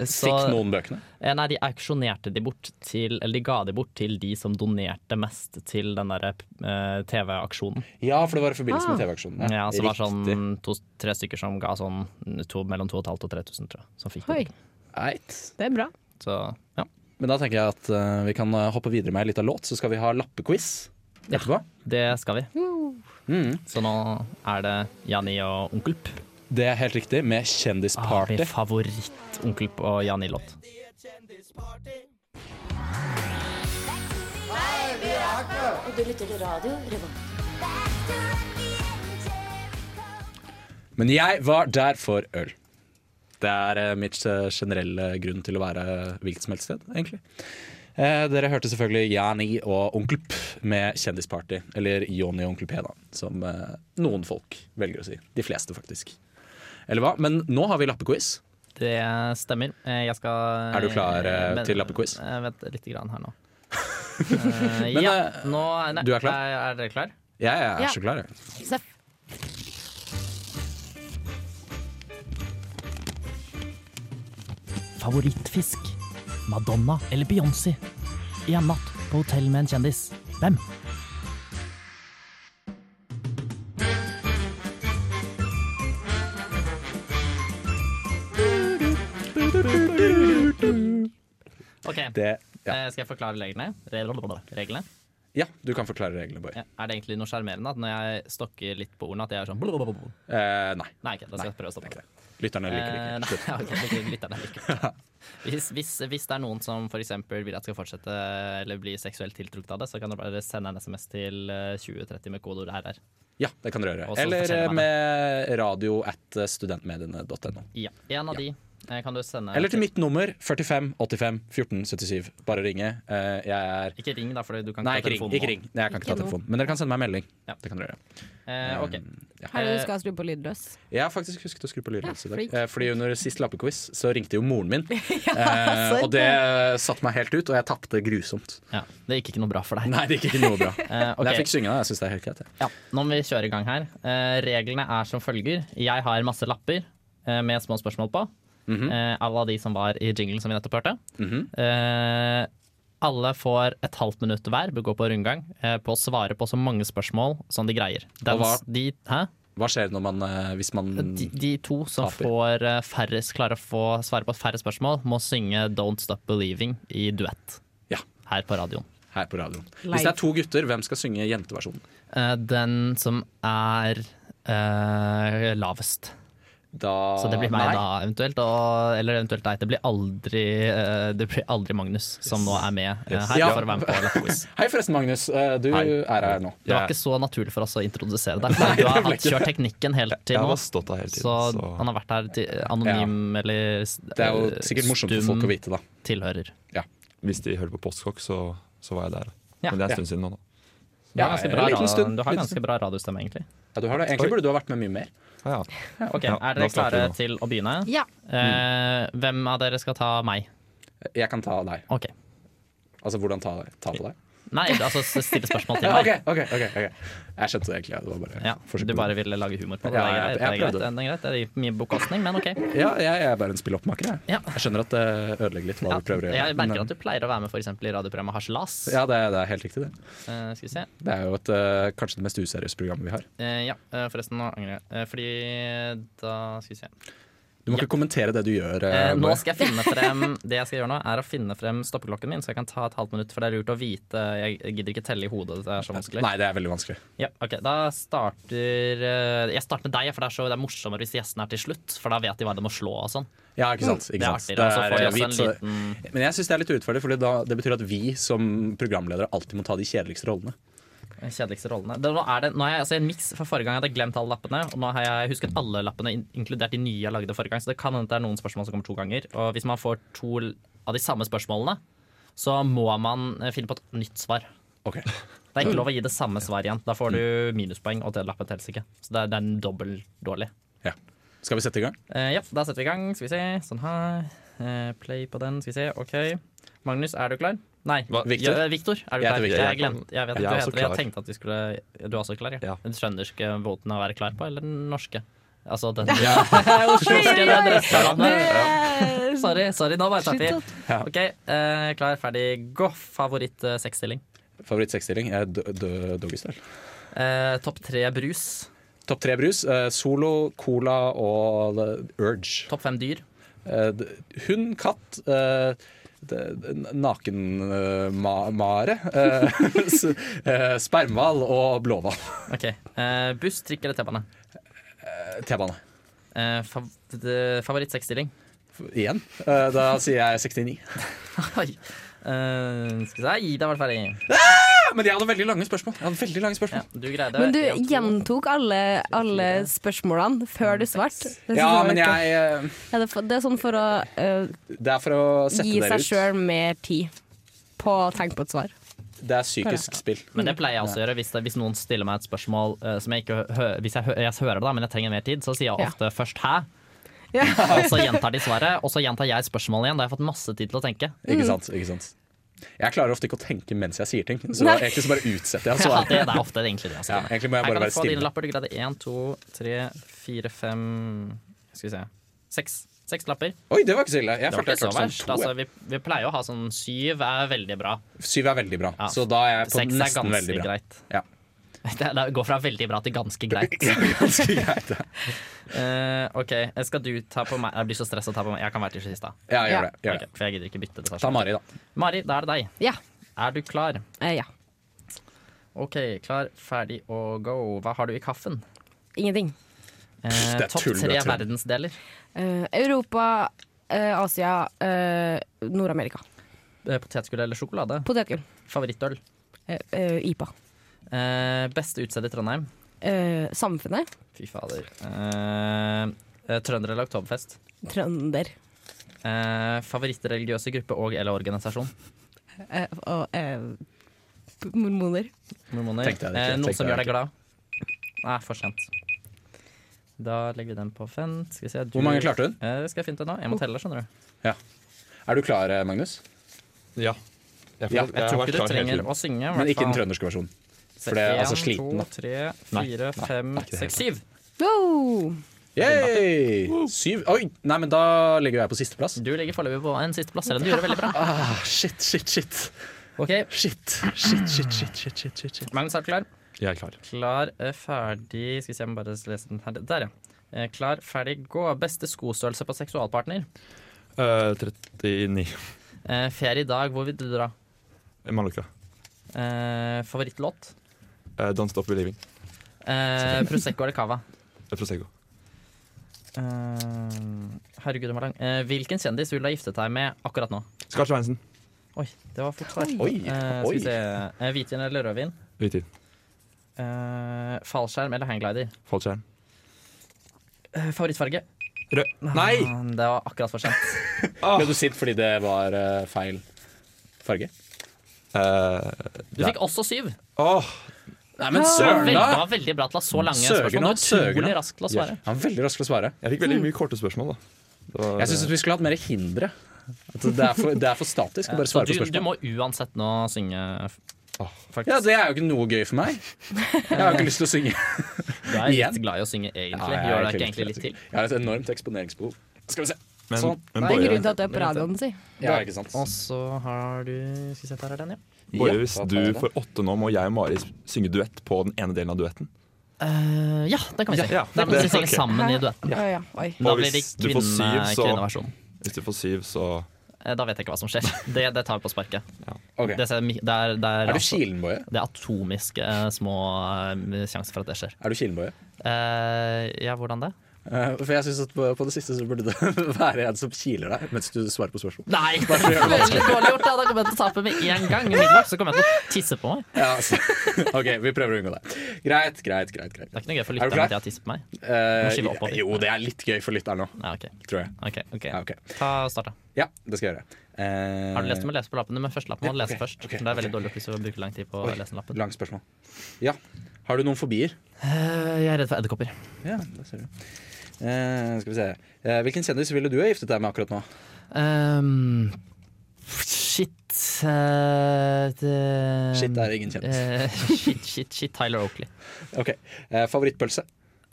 Så,
Fikk noen bøkene?
eh, Nei, de auksjonerte de bort til, eller de ga de bort til de som donerte mest til den derre eh, TV-aksjonen.
Ja, for det var i forbindelse med
Ah.
TV-aksjonen.
Ja, så det var
Riktig.
sånn to-tre stykker som ga sånn to, mellom 2500 og 3000, tror jeg. Som fikk
Oi,
det.
Eit.
det er bra.
Så ja,
Men da tenker jeg at eh, vi kan eh, hoppe videre med en liten låt, så skal vi ha lappequiz etterpå.
det skal vi. Så nå er det Jani og Onkel P.
Det er helt riktig, med
Ah,
Kjendisparty.
min favoritt Onkel P og Jani-låt.
Men jeg var der for øl. Det er eh, mitt eh, generelle grunn til å være hvilket som helst sted, egentlig. Eh, dere hørte selvfølgelig Jani og Onkel P med Kjendisparty. Eller Jonny og Onkel P, da, som eh, noen folk velger å si. De fleste, faktisk. Eller hva? Men nå har vi lappequiz.
Det stemmer. Eh, Jeg skal
Er du klar, eh,
Men-
til lappequiz?
eh, Vent litt grann her nå. Eh,
Men,
ja,
eh,
nå nei,
du er klar?
Er, er dere klar?
Jeg er
Ja.
så klar, jeg.
Seff.
Favorittfisk? Madonna eller Beyoncé? I en natt på hotell med en kjendis. Hvem? Ok,
Det, ja.
eh, Skal jeg forklare reglene? reglene?
ja, du kan forklare reglene, Boy.
Ja. Er det egentlig noe sjarmerende at når jeg stokker litt på ordene, at jeg er sånn blablabla?
Eh, nei.
Nei, ok, da skal jeg prøve å stoppe.
Det er ikke det. Lytterne liker det
Eh,
ikke. Slutt.
nei, ok, lytter- lytterne liker det. Hvis, hvis, hvis det er noen som for eksempel vil at jeg skal fortsette eller bli seksuelt tiltrukket av det, så kan dere bare sende en SMS til eh, 2030 med kodeord RR.
Ja, det kan dere
Og
gjøre.
så
Eller eh,
forteller man
med radio at studentmediene.no.
Ja. En av de eh, kan du sende
Eller til mitt nummer 45 85 14 77. Bare ringe. Eh, Jeg er
Ikke ring, da, for du kan
Nei,
ta
ikke ring.
telefonen
Ikke
nå.
ring. Nei, Jeg kan ikke ta
Ikke nå.
telefonen. Men dere kan sende meg en melding.
Ja.
Det kan dere gjøre.
Eh, ok.
Um.
Har du huska å skru på lydløs?
Jeg har faktisk husket å skru på lydløs i dag.
freak.
Eh, Fordi under sist lappequiz så ringte jo moren min. eh,
sant
Og det satte meg helt ut, og jeg tapte grusomt.
Ja, det gikk ikke noe bra for deg.
Nei, det gikk ikke noe bra.
Eh, ok.
Men jeg fikk synge det. Jeg syns det er helt greit. jeg.
Ja, nå må vi kjøre i gang her. Eh, reglene er som følger. Jeg har masse lapper eh, med små spørsmål på.
Mhm.
eh, alle av de som var i jinglen som vi nettopp hørte. eh, alle får et halvt minutt hver, bør gå på rundgang, eh, på å svare på så mange spørsmål som de greier. Den,
Og hva-
de, hæ?
Hva skjer når man, eh, hvis man
De, de to som
Taper.
får eh, færrest, klarer å få svare på færre spørsmål, må synge 'Don't Stop Believing' i duett
Ja,
her på radioen.
her på radioen.
Live.
Hvis det er to gutter, hvem skal synge jenteversjonen?
Eh, den som er eh, lavest.
Da
Så det blir meg
Nei.
da, eventuelt. Og, eller eventuelt deg. Det blir aldri, eh, det blir aldri Magnus som nå er med eh, her
Ja.
for å være med på Lappequiz.
Hei forresten, Magnus. Eh, Du
Hei.
er her nå.
Det var ikke så naturlig for oss å introdusere deg. For du har
ble
hatt
ikke
kjørt teknikken helt til
Jeg har
nå.
bare stått her hele tiden.
Så han har vært her til anonym eller s-
Det er jo
eh,
sikkert morsomt for
stum
folk å vite, da.
tilhører.
Hvis de hørte på Postkokk, så, så var jeg der.
Ja.
Men det er en stund siden nå. da.
Du har ganske
en
bra,
liten
ra-
stund,
du har
liten
ganske bra radiostemme, egentlig.
Ja, du har det. Egentlig burde du ha vært med mye mer.
Ah, ja.
Ok,
Ja,
Er
da
dere
starter
klare
vi nå.
til å begynne?
Ja.
Eh, hvem av dere skal ta meg?
Jeg kan ta deg.
Ok.
Altså, hvordan ta, ta på deg?
Nei, altså s- stille spørsmål til
Ja,
meg.
ok, ok, ok, ok. Jeg skjønte det egentlig. ja. Det var bare
Ja,
forsøk
du
på-
bare ville lage humor på det.
Ja,
det, er greit,
jeg- jeg
det, er greit,
prøvde.
det er greit. Det er mye bekostning, men OK.
Ja, jeg, jeg er bare en spilloppmaker. Jeg.
Ja.
jeg skjønner at det ødelegger litt hva
Ja,
du prøver å gjøre.
jeg merker
men-
at du pleier å være med for eksempel, i radioprogrammet Harselas.
ja, det, er- det er helt riktig, det.
Eh, skal vi se.
Det er jo et, eh, kanskje det mest useriøse programmet vi har.
Eh, ja, eh, forresten, nå angrer jeg. Eh, fordi da Skal vi se.
Du må ikke kommentere det du gjør.
Eh,
eh,
nå
Boje.
skal jeg finne frem Det jeg skal gjøre nå, er å finne frem stoppeklokken min, så jeg kan ta et halvt minutt, for det er lurt å vite Jeg gidder ikke telle i hodet, det er så vanskelig.
Nei, det er veldig vanskelig.
Ja, ok, Da starter eh, Jeg starter med deg, for det er, så, det er morsommere hvis gjestene er til slutt. For da vet de hva de må slå og sånn.
Ja, ikke sant.
Det er
Ikke sant?
artigere. Og så får de
eh,
også en
vits, så-
liten
Men jeg syns det er litt urettferdig, for det betyr at vi som programledere alltid må ta de kjedeligste rollene.
De kjedeligste rollene. Det, nå, er det, nå er jeg altså, i en miks, for Forrige gang hadde jeg glemt alle lappene, og nå har jeg husket alle lappene, in- inkludert de nye jeg lagde forrige gang. Så det kan hende det er noen spørsmål som kommer to ganger. Og hvis man får to l- av de samme spørsmålene, så må man eh, finne på et nytt svar.
Ok.
Det er ikke lov å gi det samme svaret igjen. Da får du minuspoeng, og det lappen teller ikke. Så det er, det er dobbelt dårlig.
Ja. Skal vi sette i gang?
Eh, ja, da setter vi i gang. Skal vi se. Sånn her. Eh, play på den. Skal vi se. OK. Magnus, er du klar? Nei.
Hva, Victor?
Ja, eh, Victor, er du
Jeg
klar?
heter Victor.
Jeg, glemte, jeg vet ikke
Jeg er
hva du
også
heter. Jeg
klar.
tenkte at vi skulle Du er også klar, ja?
Ja.
Den trønderske båten å være klar på, eller den norske? Altså den
Oi,
osloske,
oi,
den
oi.
restauranten.
Eh,
Sorry, sorry, nå bare starter
Slutt
vi. OK, eh, klar, ferdig, gå. Favoritt eh, sexstilling.
Favorittseksstilling er do- do- doggystyle.
Eh, Topp tre brus.
Topp tre brus. eh, Solo, cola og eh, Urge.
Topp fem dyr.
Eh, d- Hund, katt eh, d- eh, d- Nakenmare. eh, Spermhval og blåhval.
OK. Eh, buss, trikk eller T-bane?
Eh, T-bane.
Eh, fav de- favoritt sexstilling.
Igjen. Eh, Da sier jeg 69.
Oi. Eh, skal vi se Ida var ferdig.
Ja, men jeg hadde veldig lange spørsmål. Jeg hadde veldig lange spørsmål.
Ja, du
Eh,
greide
Men du
en, to.
gjentok alle, alle spørsmålene før du svarte. Det synes
Ja,
jeg var
men
litt
jeg eh,
gøy. ja, det, er for- det er sånn for å eh,
Det er for å
gi
sette dere
seg
ut.
sjøl mer tid på å tenke på et svar.
Det er psykisk spill.
Men det pleier jeg også å gjøre hvis, det, hvis noen stiller meg et spørsmål eh, som jeg ikke hø- hvis jeg, hø jeg hører det, da, men jeg trenger mer tid, så sier jeg
Ja.
ofte først 'hæ',
Ja.
og så gjentar de svaret, og så gjentar jeg spørsmålet igjen. Da har jeg fått masse tid til å tenke.
Ikke sant? ikke sant Jeg klarer ofte ikke å tenke mens jeg sier ting, så
Nei.
egentlig så bare utsetter jeg
Ja,
svaret.
det, det er ofte egentlig det. Altså.
Ja, egentlig må
Her
jeg bare
kan du
være
få dine
stille.
lapper. Du greide én, to, tre, fire, fem Skal vi se. Seks. Seks lapper.
Oi, det var ikke så ille. Jeg
Det var
følte
ikke
jeg
så
klarte
verst.
sånn to.
Altså, vi, vi pleier å ha sånn syv er veldig bra.
jeg. Syv er veldig bra,
Ja.
så da er jeg på
Seks er
nesten veldig
ganske
bra.
greit.
Ja.
Det, det går fra veldig bra til ganske greit.
Ganske greit. ja.
Eh, OK, skal du ta på meg? Jeg blir så stressa å ta på meg. Jeg kan være til sist, da.
Ja,
Ja.
gjør det. Gjør det.
Ok, for jeg gidder ikke bytte det.
Ta
Mari.
Mari, da.
Mari, da er det deg.
Ja.
Er du klar?
Eh, ja.
OK, klar, ferdig og go. Hva har du i kaffen?
Ingenting.
Eh,
det er
Topp
tull, det
tre
er tull.
verdensdeler.
Eh, Europa, eh, Asia, eh, Nord-Amerika.
Eh, Potetgull eller sjokolade?
Potetgull.
Favorittøl?
Eh, eh, IPA.
Eh, beste utested i Trondheim?
Eh, samfunnet.
Fy fader. Eh, eh, trønder eller oktoberfest?
Trønder.
Eh, Favorittreligiøse gruppe og- eller organisasjon?
Eh, og eh, p- mormoner.
Mormoner.
Tenkte jeg det ikke,
Eh, noe
tenkte
som
jeg
gjør deg
det
glad? Nei, for sent. Da legger vi den på fent. Skal vi se. Du-
Hvor mange klarte Oh. hun?
Eh, skal jeg finne ut nå? Jeg må telle, skjønner du.
Er du klar, eh, Magnus?
Ja. Jeg,
Ja,
føler-
Jeg tror
har vært
ikke
klar
du
hele
trenger
tiden.
å synge.
Men ikke den trønderske versjonen. For det er altså sliten, da.
To, tre, fire, fem, seks, syv.
Wow!
Yay! Syv. Oi! Nei, men da ligger jeg på sisteplass.
Du ligger foreløpig på en sisteplass, selv om du gjør det veldig bra.
Ah, shit, shit, shit.
Ok,
Shit, shit, shit, shit, shit, shit, shit, shit.
Magnus, er du klar?
Jeg er klar.
Klar, eh, ferdig Skal vi se, jeg må bare lese den her. Der, ja. Eh, Klar, ferdig, gå. Beste skostørrelse på seksualpartner.
Eh, 39.
Eh, Ferie i dag, hvor vil du dra?
Mallorca.
Eh, Favorittlåt?
Eh, Don't Stop Believing.
Eh, Prosecco eller Cava?
Eh, Prosecco.
Eh, Herregud, den var lang. Eh, Hvilken kjendis vil du ha giftet deg med akkurat nå?
Skar Sveinsen.
Oi, det var fort svar.
Oi,
Eh, skal
oi.
vi se. Eh, Hvitvin eller rødvin?
Hvitvin.
Eh, fallskjerm eller hangglider?
Fallskjerm.
Eh, favorittfarge?
Rød.
Nei!
Ah, Det var akkurat for sent.
Ble du sint fordi det var eh, feil farge?
Eh,
Du fikk også syv.
åh,
Nei, men
Det var
søren,
veldig, det
da!
var veldig bra til å ha så lange
Søren,
spørsmål.
da,
Du var
søren, da.
utrolig rask til å svare.
Han er veldig rask til å svare.
jeg fikk veldig mye korte spørsmål, da. Det var,
Jeg syns vi skulle hatt mer hindre. At det, er for, det er for statisk å bare
Så
svare
du, du
på
må
spørsmål.
uansett nå synge, f-
Ja,
faktisk.
Det er jo ikke noe gøy for meg. Jeg har jo ikke lyst til å synge.
Du er
igjen.
litt glad i å synge, egentlig.
jeg,
Gjør
har
det ikke
lyst
egentlig litt til.
til. jeg har et enormt eksponeringsbehov. Skal vi se.
men, men
sånn.
Det er en
Boje,
grunn til at du er på radioen, si.
Ja, ikke sant.
Og så har du Skal vi se, der er den, ja.
Boje,
Ja,
hvis
da tar
du
jeg det.
får åtte nå, må jeg og Mari synge duett på den ene delen av duetten.
Eh, ja, det kan vi si.
Ja, ja,
da kan
det-
vi synge
ok.
sammen i duett.
Ja.
Å ja, oi.
Da
Og
blir det
hvis du får
kvinne,
syv, så-
kvinneversjon.
Hvis du får syv, så
Eh, Da vet jeg ikke hva som skjer. Det, det tar vi på sparket.
Ok.
Det, ser mi- det er, det er,
Er du
altså-
kilenboje?
det er atomiske eh, små eh, sjanser for at det skjer.
Er du kilenboje?
Eh, ja, hvordan det?
Eh, for jeg synes at på, på det siste så burde det være en som kiler deg mens du svarer på spørsmål.
Nei! Det er veldig dårlig gjort. Da Da kommer jeg til å tape med en gang. Umiddelbart så kommer jeg til å tisse på meg.
Ja, altså. OK, vi prøver å unngå det. Greit, greit, greit.
Det
greit.
er ikke noe gøy for
Er du
lytterne
klar?
at jeg har tisset på meg.
Eh,
må skyve oppover.
jo, det er litt gøy for lytteren nå,
Nei, ok,
tror jeg.
ok, ok.
Ja, ok.
Ta start, da.
ja det skal jeg gjøre. Eh,
Har du lest med å lese på lappene, men første lappen må du lese
ok,
først.
ok,
Det er veldig
ok.
dårlig hvis du bruker lang tid på å
Oi.
lese den lappen.
Langt spørsmål. Ja. Har du noen fobier?
Eh, jeg er redd for edderkopper.
Ja, det ser du. Eh, skal vi se. Eh, hvilken kjendis ville du ha giftet deg med akkurat nå?
Ehm, shit eh, det,
Shit, det er ingen kjendis.
Eh, shit, shit, shit. Tyler Oakley.
Ok. Eh, favorittpølse?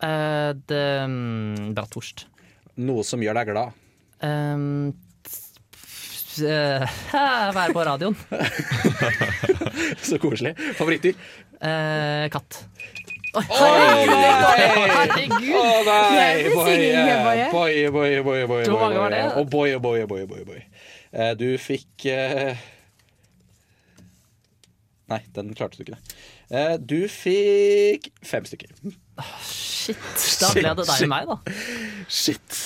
Eh, det mm, Bratwurst.
Noe som gjør deg glad.
Ehm, t- f- eh, være på radioen.
Så koselig. Favorittdyr?
Eh, katt.
Oi! Å
Herregud!
nei! eh,
Det er besingende, Boje.
Boje, boje, boje, boje, boje,
Hvor mange
boje,
var det?
Og boje, boje, boje, boje, boje. Eh, Du fikk eh, Nei, den klarte du ikke. det. Eh, Du fikk fem stykker.
Shit. Da ble det deg og meg, da.
Shit.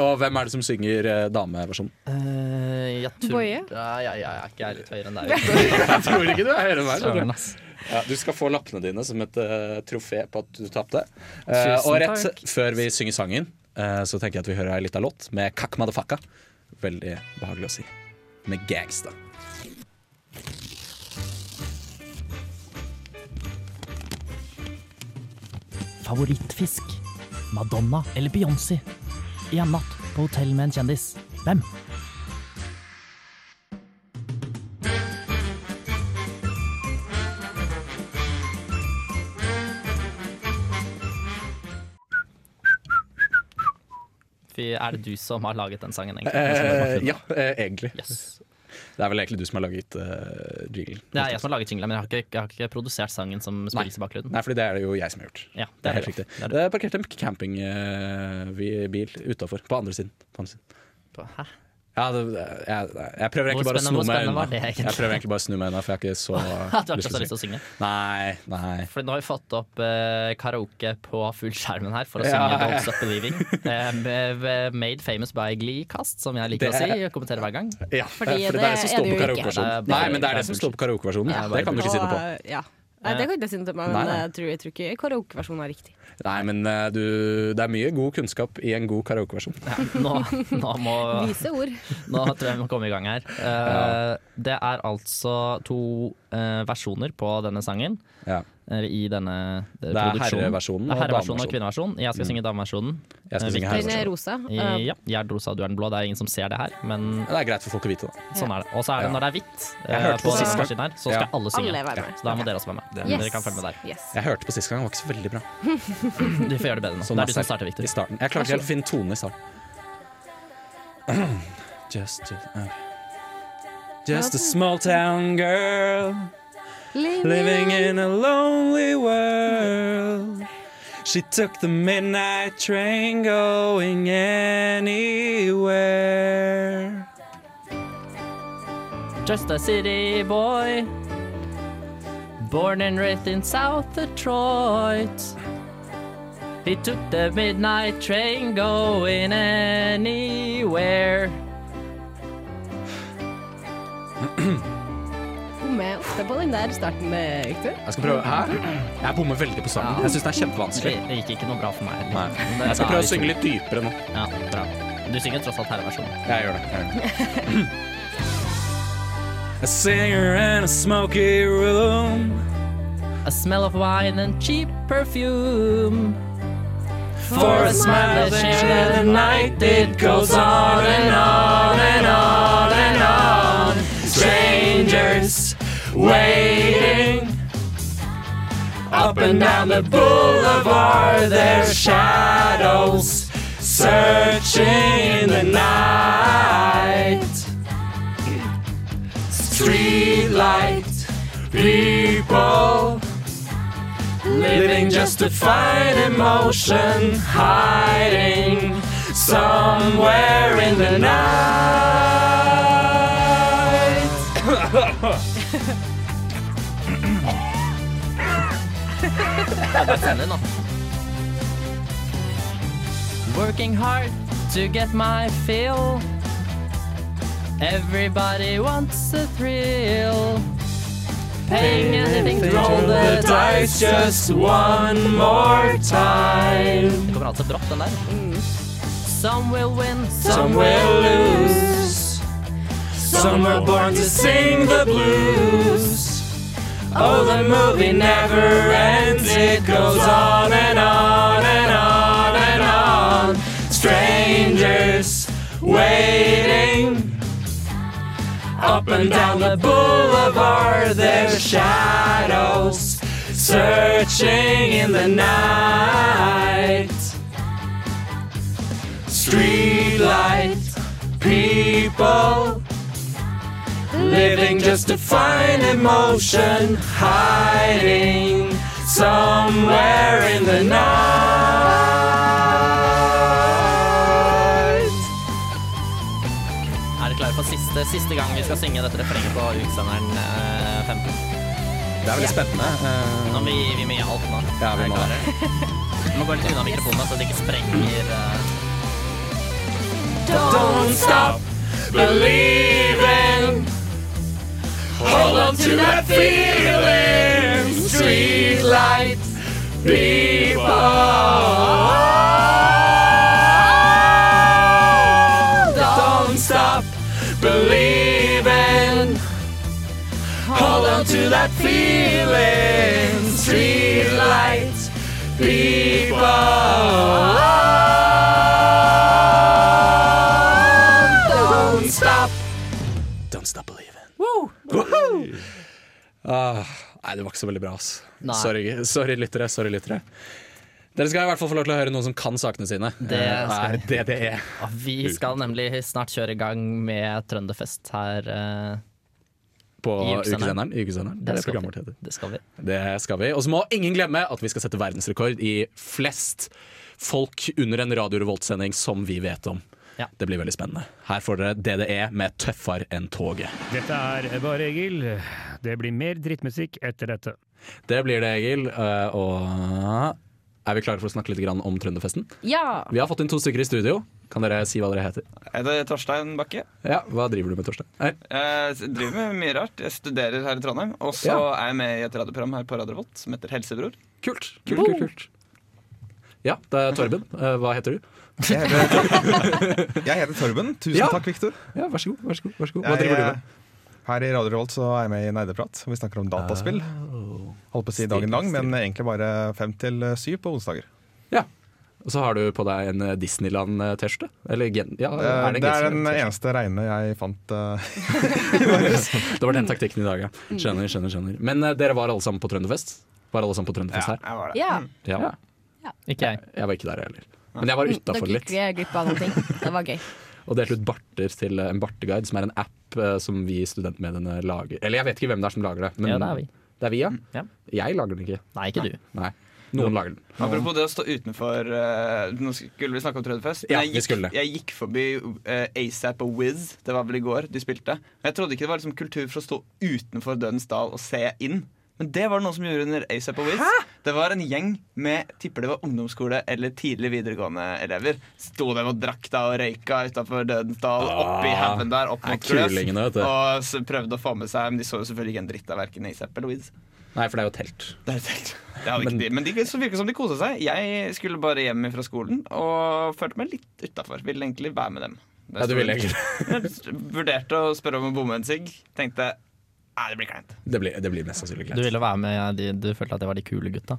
Og hvem er det som synger eh, dameversjonen?
Eh, jeg tror
Boje?
Ja, ja, ja, jeg er ikke jeg litt høyere enn deg.
Jeg tror ikke du er høyere enn meg. skjønner du.
Søren, ass.
Ja, du skal få lappene dine som et eh, trofé på at du tapte. Eh,
Tusen
og rett
takk.
før vi synger sangen, eh, så tenker jeg at vi hører ei lita låt med Kakk Madafaka. Veldig behagelig å si. Med gangsta.
Favorittfisk? Madonna eller Beyoncé? I en natt på hotell med en kjendis. Hvem? Fy, er det du som har laget den sangen,
Eh,
egentlig?
ja, eh, egentlig.
Yes.
Det er vel egentlig du som har laget uh, jinglen.
Det er jeg som har laget jingla, men jeg har, ikke, jeg har ikke produsert sangen som spilles i bakgrunnen.
Nei, fordi det er det jo jeg som har gjort.
Ja,
Det er helt
det.
riktig.
er
Det er parkert en eh, campingbil utafor. På andre siden. På andre siden.
Hæ?
Ja, det, jeg, jeg prøver
Hvor
egentlig bare å
spennende-
sno
hvor
meg
spennende
unna.
var det egentlig?
Jeg prøver egentlig bare å snu meg unna, for jeg har ikke så
At du har ikke så lyst til å synge?
Nei, nei.
Fordi nå har vi fått opp eh, karaoke på fullskjermen her for å
Ja,
synge
ja, ja.
Don't Stop Believing. Eh, med- med- made famous by Glee-kast, som jeg liker
Det
å si
er-
og kommenterer hver gang.
Fordi
Ja, for det,
det
er det som
er det
står
jo
på
Det er
ikke.
bare-
karaokeversjonen. Nei, men det er det som står på karaokeversjonen.
Ja,
Det kan du ikke si noe på.
Og, ja. Nei, det kan ikke jeg si noe på,
Nei,
men
nei.
jeg tror, jeg tror ikke karaokeversjonen er riktig.
Nei, men eh, du, det er mye god kunnskap i en god karaokeversjon.
Ja, nå, nå, må,
Vise ord.
nå tror jeg vi må komme i gang her. Eh, det er altså to eh, versjoner på denne sangen.
Ja.
Eller i denne eh,
Det er herreversjonen
Det er herreversjonen
og
og
dameversjonen. Mm.
kvinneversjonen. Jeg skal synge dameversjonen.
Jeg skal
Eh,
synge
Den er
herreversjonen.
rosa.
Eh,
Uh,
Ja, jeg er den rosa, du er den blå. Det er ingen som ser det her, men
Det er greit for folk å vite, da.
sånn er det. Og så er det
Ja.
når det er hvitt,
Jeg
eh,
hørte
på
det
siste
sist gang.
versjonen her, så skal
Ja.
alle synge.
Alle være med.
Så da må dere også være med. Dere kan følge med der.
Yes.
Jeg hørte på sist gang, det var ikke så veldig bra.
Du får gjøre det bedre nå.
Sånn
det er du som
sterk-
starter, Victor.
I starten. Jeg klarte ikke helt å finne tonen i starten. Just, just, ok. just a small town girl living in a lonely world. She took the midnight train going anywhere.
Just a city boy. Born and raised in South Detroit. He took the midnight train going anywhere.
Komme ofte på den der starten, eh, Victor.
Jeg skal prøve Hæ? Jeg bommer veldig på starten. Jeg syns den er
Det
kjempevanskelig.
det gikk ikke noe bra for meg.
Nei. Jeg skal prøve å synge litt dypere nå.
Ja, bra. Du synger tross alt herreversjonen.
Jeg gjør det. Jeg gjør det. A singer in a smoky room.
A smell of wine and cheap perfume.
For a smile they share the night It goes on and on and on and on Strangers waiting Up and down the boulevard Their shadows searching in the night Streetlight people Living
hiding justified emotion, hiding somewhere in the night.
Send den, da. Working hard to get my fill. Everybody wants a thrill. Paying anything to
Roll the dice just one more time.
Det kommer altså brått, den der.
Mm.
Some will win,
Some will lose. Some were born to sing the blues. Oh, the movie never ends. It goes on and on and on and on. Strangers waiting. Up and down the boulevard, their shadows searching in the night. Streetlight people living just to find emotion, hiding somewhere in the night.
Er dere klare for siste, siste gang vi skal synge dette refrenget på utsenderen eh, 15?
Det er veldig spennende.
Nå, vi, vi må gi alt nå.
Ja, vi
Er dere
må.
klare? Vi må gå litt unna mikrofonen så det ikke sprenger eh.
Don't stop believing. Hold on to that feeling. Streetlight people. Don't stop believing. Hold on to that feeling. Streetlight people. Don't stop.
Don't stop believing. Ah, nei, det var ikke så veldig bra, ass.
Nei.
Sorry, sorry, lyttere. Sorry, lyttere. Dere skal i hvert fall få lov til å høre noen som kan sakene sine.
Det
Eh,
skal
er det det er.
Ja, Vi skal nemlig snart kjøre i gang med Trønderfest her. eh,
På
I ukesenderen.
ukesenderen. I ukesenderen. Det er det
skal
programmet vårt
vi.
heter.
Det skal vi.
Det skal vi. Og så må ingen glemme at vi skal sette verdensrekord i flest folk under en Radio Revolt-sending som vi vet om.
Ja.
Det blir veldig spennende. Her får dere DDE med 'Tøffar enn toget'.
Dette er Bare Egil. Det blir mer drittmusikk etter dette.
Det blir det, Egil. Eh, Og er vi klare for å snakke litt grann om Trønderfesten?
Ja.
Vi har fått inn to stykker i studio. Kan dere si hva dere heter?
Jeg heter Torstein Bakke.
Ja, Hva driver du med, Torstein? Nei,
Jeg driver med mye rart. Jeg studerer her i Trondheim. Og så
Ja.
er jeg med i et radioprogram her på Radio Revolt som heter Helsebror.
Kult. kult, kult, kult. Ja, det er Torben. Eh, Hva heter du?
Jeg heter, jeg heter Torben. Tusen
Ja.
takk, Viktor.
Ja, Vær så god. vær så god, vær så god. Hva driver du med?
Her i Radio Revolt så er jeg med i Nerdeprat. hvor Vi snakker om dataspill.
Oh.
Holdt på å si
Stilig,
dagen lang, men
stilig.
egentlig bare fem til eh, syv på onsdager.
Ja. Og så har du på deg en eh, Disneyland-T-skjorte. Eller gen ja,
Eh,
Det
er
er,
det, en
Eh, det er
genser?
den eneste reine jeg fant. eh,
Det var den taktikken i dag, ja. Skjønner, skjønner, skjønner. Men eh, dere var alle sammen på Trønderfest? Var alle sammen på Trønderfest her?
jeg var
Ja.
Ja.
Ikke jeg.
Jeg var ikke der heller. Men jeg
Mm,
var
Dere
utafor
gikk
litt.
glipp av noen ting. Det var gøy.
Og delte ut barter til eh, en barteguide, som er en app eh, som vi i studentmediene lager. Eller jeg vet ikke hvem det er som lager det. Men
Ja, det er vi. Mm,
Det er vi, ja.
Ja.
Jeg lager den ikke.
Nei, ikke du.
Nei. Noen lager den.
Apropos det å stå utenfor eh, Nå skulle vi snakke om Trønderfest.
Ja,
men
vi
jeg,
skulle.
gikk, jeg gikk forbi eh, ASAP og Wiz. Det var vel i går de spilte. Men jeg trodde ikke det var liksom kultur for å stå utenfor Dødens dal og se inn. Men det var det noen som gjorde under ASAP og Wiz. Det var en gjeng med tipper det var ungdomsskole- eller tidlig videregående-elever. Sto dem og drakk da og røyka utafor Dødens dal,
Ah,
oppi haugen der, opp
er
mot Gløs.
kulingene, vet du.
Og s- prøvde å få med seg, men de så jo selvfølgelig ikke en dritt av verken ASAP eller Wiz.
Nei, for det er jo telt.
Det er et telt. Det hadde
Men-
ikke de. Men de så virket som de kosa seg. Jeg skulle bare hjem fra skolen og følte meg litt utafor. Ville egentlig være med dem. Det
Ja, du
sto-
ville egentlig
Jeg Vurderte å spørre om å bomme en sigg. Tenkte nei, det blir kleint.
Det blir, det blir mest sannsynlig
Du
greit.
ville være med, ja, de, du følte at det var de kule gutta.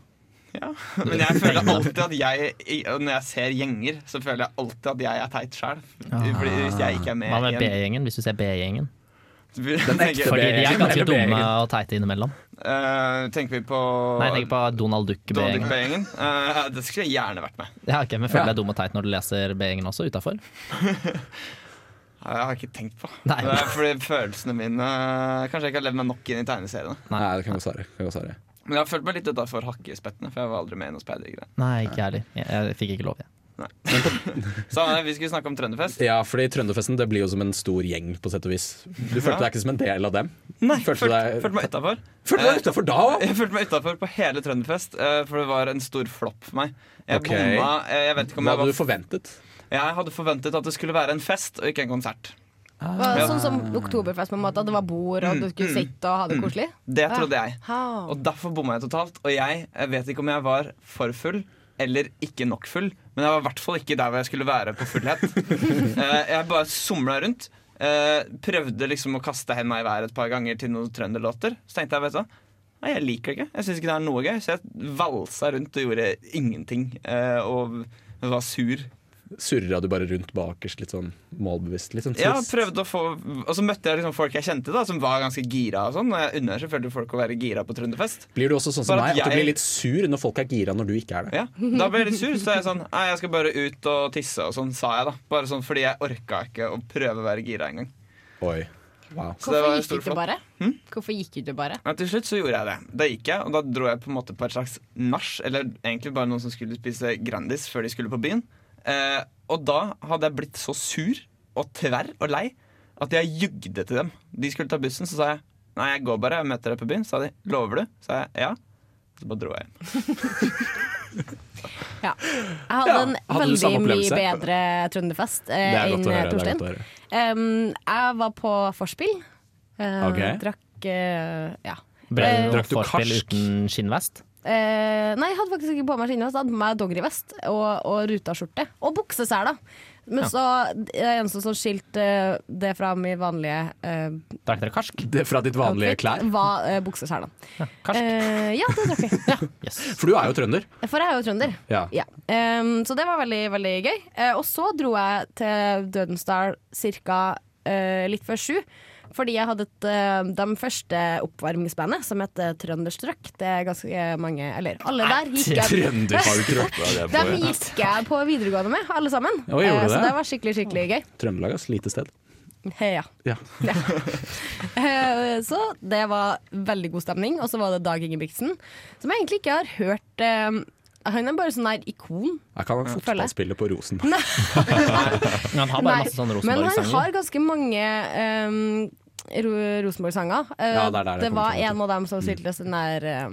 Ja. Men jeg føler alltid at jeg i- og Når jeg ser gjenger, så føler jeg alltid at jeg er teit sjæl. Hvis jeg ikke er med
Ah. Hva med
i en-
B-gjengen, hvis du ser B-gjengen?
tenker,
Fordi de er
B-gjengen
ganske
eller B-gjengen?
dumme og teite innimellom.
eh, tenker vi på
Nei, jeg tenker på Donald
Donald
Duck-B-gjengen.
Duck-gjengen? Eh, det skulle jeg gjerne vært med.
Ja, ok, men føler du deg dum og teit når du leser B-gjengen også, utafor?
Ja, Jeg har ikke tenkt på
Nei.
eh, det. Er fordi følelsene mine Kanskje jeg ikke har levd meg nok inn i tegneseriene.
Nei, det kan godt være. det kan godt være.
Men jeg har følt meg litt utafor hakkespettene, for jeg var aldri med i noe speidergreier.
Nei, ikke ærlig. Jeg, jeg fikk ikke lov, jeg.
Samme det, eh, vi skulle snakke om Trønderfest.
Ja, fordi Trønderfesten det blir jo som en stor gjeng, på sett og vis. Du
Ja.
følte deg ikke som en del av dem?
Nei,
følte,
følte,
deg,
følte meg utafor.
Følte du deg utenfor da òg?
Jeg følte meg utafor på hele Trønderfest, eh, for det var en stor flopp for meg. Jeg
Ok.
bomma eh, jeg vet ikke om
Hva
jeg var-
hadde du forventet?
Jeg hadde forventet at det skulle være en fest og ikke en konsert.
Ah.
Var det
Ja.
Sånn som Oktoberfest, på en måte. at Det var bord, og du skulle sitte og ha det koselig.
Det trodde jeg.
Ah.
Og derfor bomma jeg totalt. Og jeg, jeg vet ikke om jeg var for full eller ikke nok full, men jeg var i hvert fall ikke der hvor jeg skulle være på fullhet. Eh, jeg bare somla rundt. eh, prøvde liksom å kaste henda i været et par ganger til noen trønderlåter. Så tenkte jeg vet du hva, Nei, jeg liker det ikke. Jeg syns ikke det er noe gøy. Så jeg valsa rundt og gjorde ingenting. eh, og var sur.
Surra du bare rundt bakerst, litt sånn målbevisst? Litt sånn
Ja,
trist?
prøvde å få Og så møtte jeg liksom folk jeg kjente, da som var ganske gira. Og sånn Og jeg unner selvfølgelig folk å være gira på Trønderfest.
Blir du også sånn som
Bare at
meg, at du
jeg-
blir litt sur når folk er gira når du ikke er det?
Ja, Da ble jeg litt sur, så jeg sånn Nei, jeg skal bare ut og tisse, og sånn sa jeg, da. Bare sånn fordi jeg orka ikke å prøve å være gira engang.
Oi. Wow.
Så det var
Hvorfor gikk
en
du
stor
ikke
flopp.
bare? Hvorfor gikk du ikke bare?
Men til slutt så gjorde jeg det. Da gikk jeg, og da dro jeg på en måte på et slags nach, eller egentlig bare noen som skulle spise Grandis før de skulle på byen. Eh, og da hadde jeg blitt så sur og tverr og lei at jeg jugde til dem. De skulle ta bussen, så sa jeg nei, jeg går bare, jeg møter deg på byen. Så sa de lover du? Sa jeg ja. Så bare dro jeg hjem.
Ja. Jeg hadde
Ja.
en
Hadde du
veldig
samme
mye
opplevelse?
bedre Trønderfest eh,
Det er godt å
enn
høre, det er
Torstein.
godt å høre.
Em, jeg var på vorspiel. Eh,
Ok.
Drakk eh, ja.
Ble,
Eh,
drakk du karsk? uten skinnvest?
Eh, nei, jeg hadde faktisk ikke på meg skinnvest. Jeg hadde på meg dongerivest og, og ruta-skjorte. Og bukseseler, da. Men
Ja.
så det er eneste som skilte eh, det fra min vanlige eh,
Drakk dere karsk?
Det er fra ditt vanlige klær?
var eh, bukseselene. Eh, ja, det drakk jeg.
For du er jo trønder.
For jeg er jo trønder.
Ja.
Ja. Ehm, så det var veldig, veldig gøy. Eh, og så dro jeg til Dødensdal ca. litt før sju. Fordi jeg hadde et, eh, de første oppvarmingsbandet, som heter Trønderstrøk. Det er ganske mange Eller alle der gikk jeg Dem gikk jeg på videregående med, alle sammen.
Oi, gjorde
Eh,
du
så
det?
det var skikkelig, skikkelig gøy.
Trøndelag, ass. Lite sted.
Heia.
Ja.
Eh, Så det var veldig god stemning. Og så var det Dag Ingebrigtsen, som jeg egentlig ikke har hørt eh, Han er bare sånn der ikon.
Jeg kan være
Føler jeg.
fotballspiller på Rosenborg.
Men han har bare masse sånne
men han
Rosenborg-sanger.
har ganske mange um, ro Rosenborg-sanger. Eh,
Ja, det er der det kommer
var
fra, vet
en av dem som stilte oss den der eh,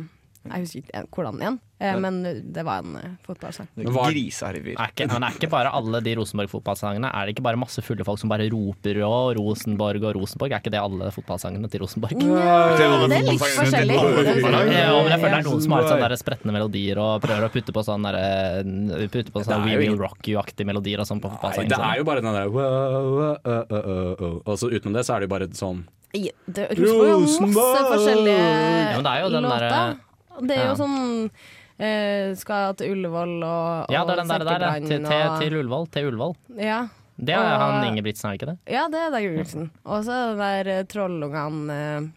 Jeg husker ikke hvordan igjen, eh, men det var en eh, fotballsang.
Grisearver.
Er ikke, men er ikke bare alle de Rosenborg-fotballsangene Er det ikke bare masse fulle folk som bare roper og Rosenborg og Rosenborg? Er ikke det alle fotballsangene til Rosenborg?
Nja, det er litt forskjellig.
Ja, men jeg føler det er noen som har litt sånne der spretne melodier og prøver å putte på sånne, der, eh, putte på sånne
Det er
We
jo
Will
ingen-
Rock You-aktige melodier og sånn på
Nei, det
fotballsangen.
er jo bare den der wow, wow, uh, uh, uh, uh. Og så utenom det så er det jo bare sånn
I- det- Rosenborg har masse
Rosenborg!
forskjellige
Ja, men det er jo den
låter.
derre-
Det er jo
Ja.
sånn eh, Skal til Ullevål og, og
Ja, det er den der, der
Sekkebrand
til, til,
og-
til Ullevål. Til Ullevål.
ja.
Det er
Og-
han Ingebrigtsen, er det ikke det?
Ja, det er Dag Ulriksen. Og så den der eh, trollungene eh,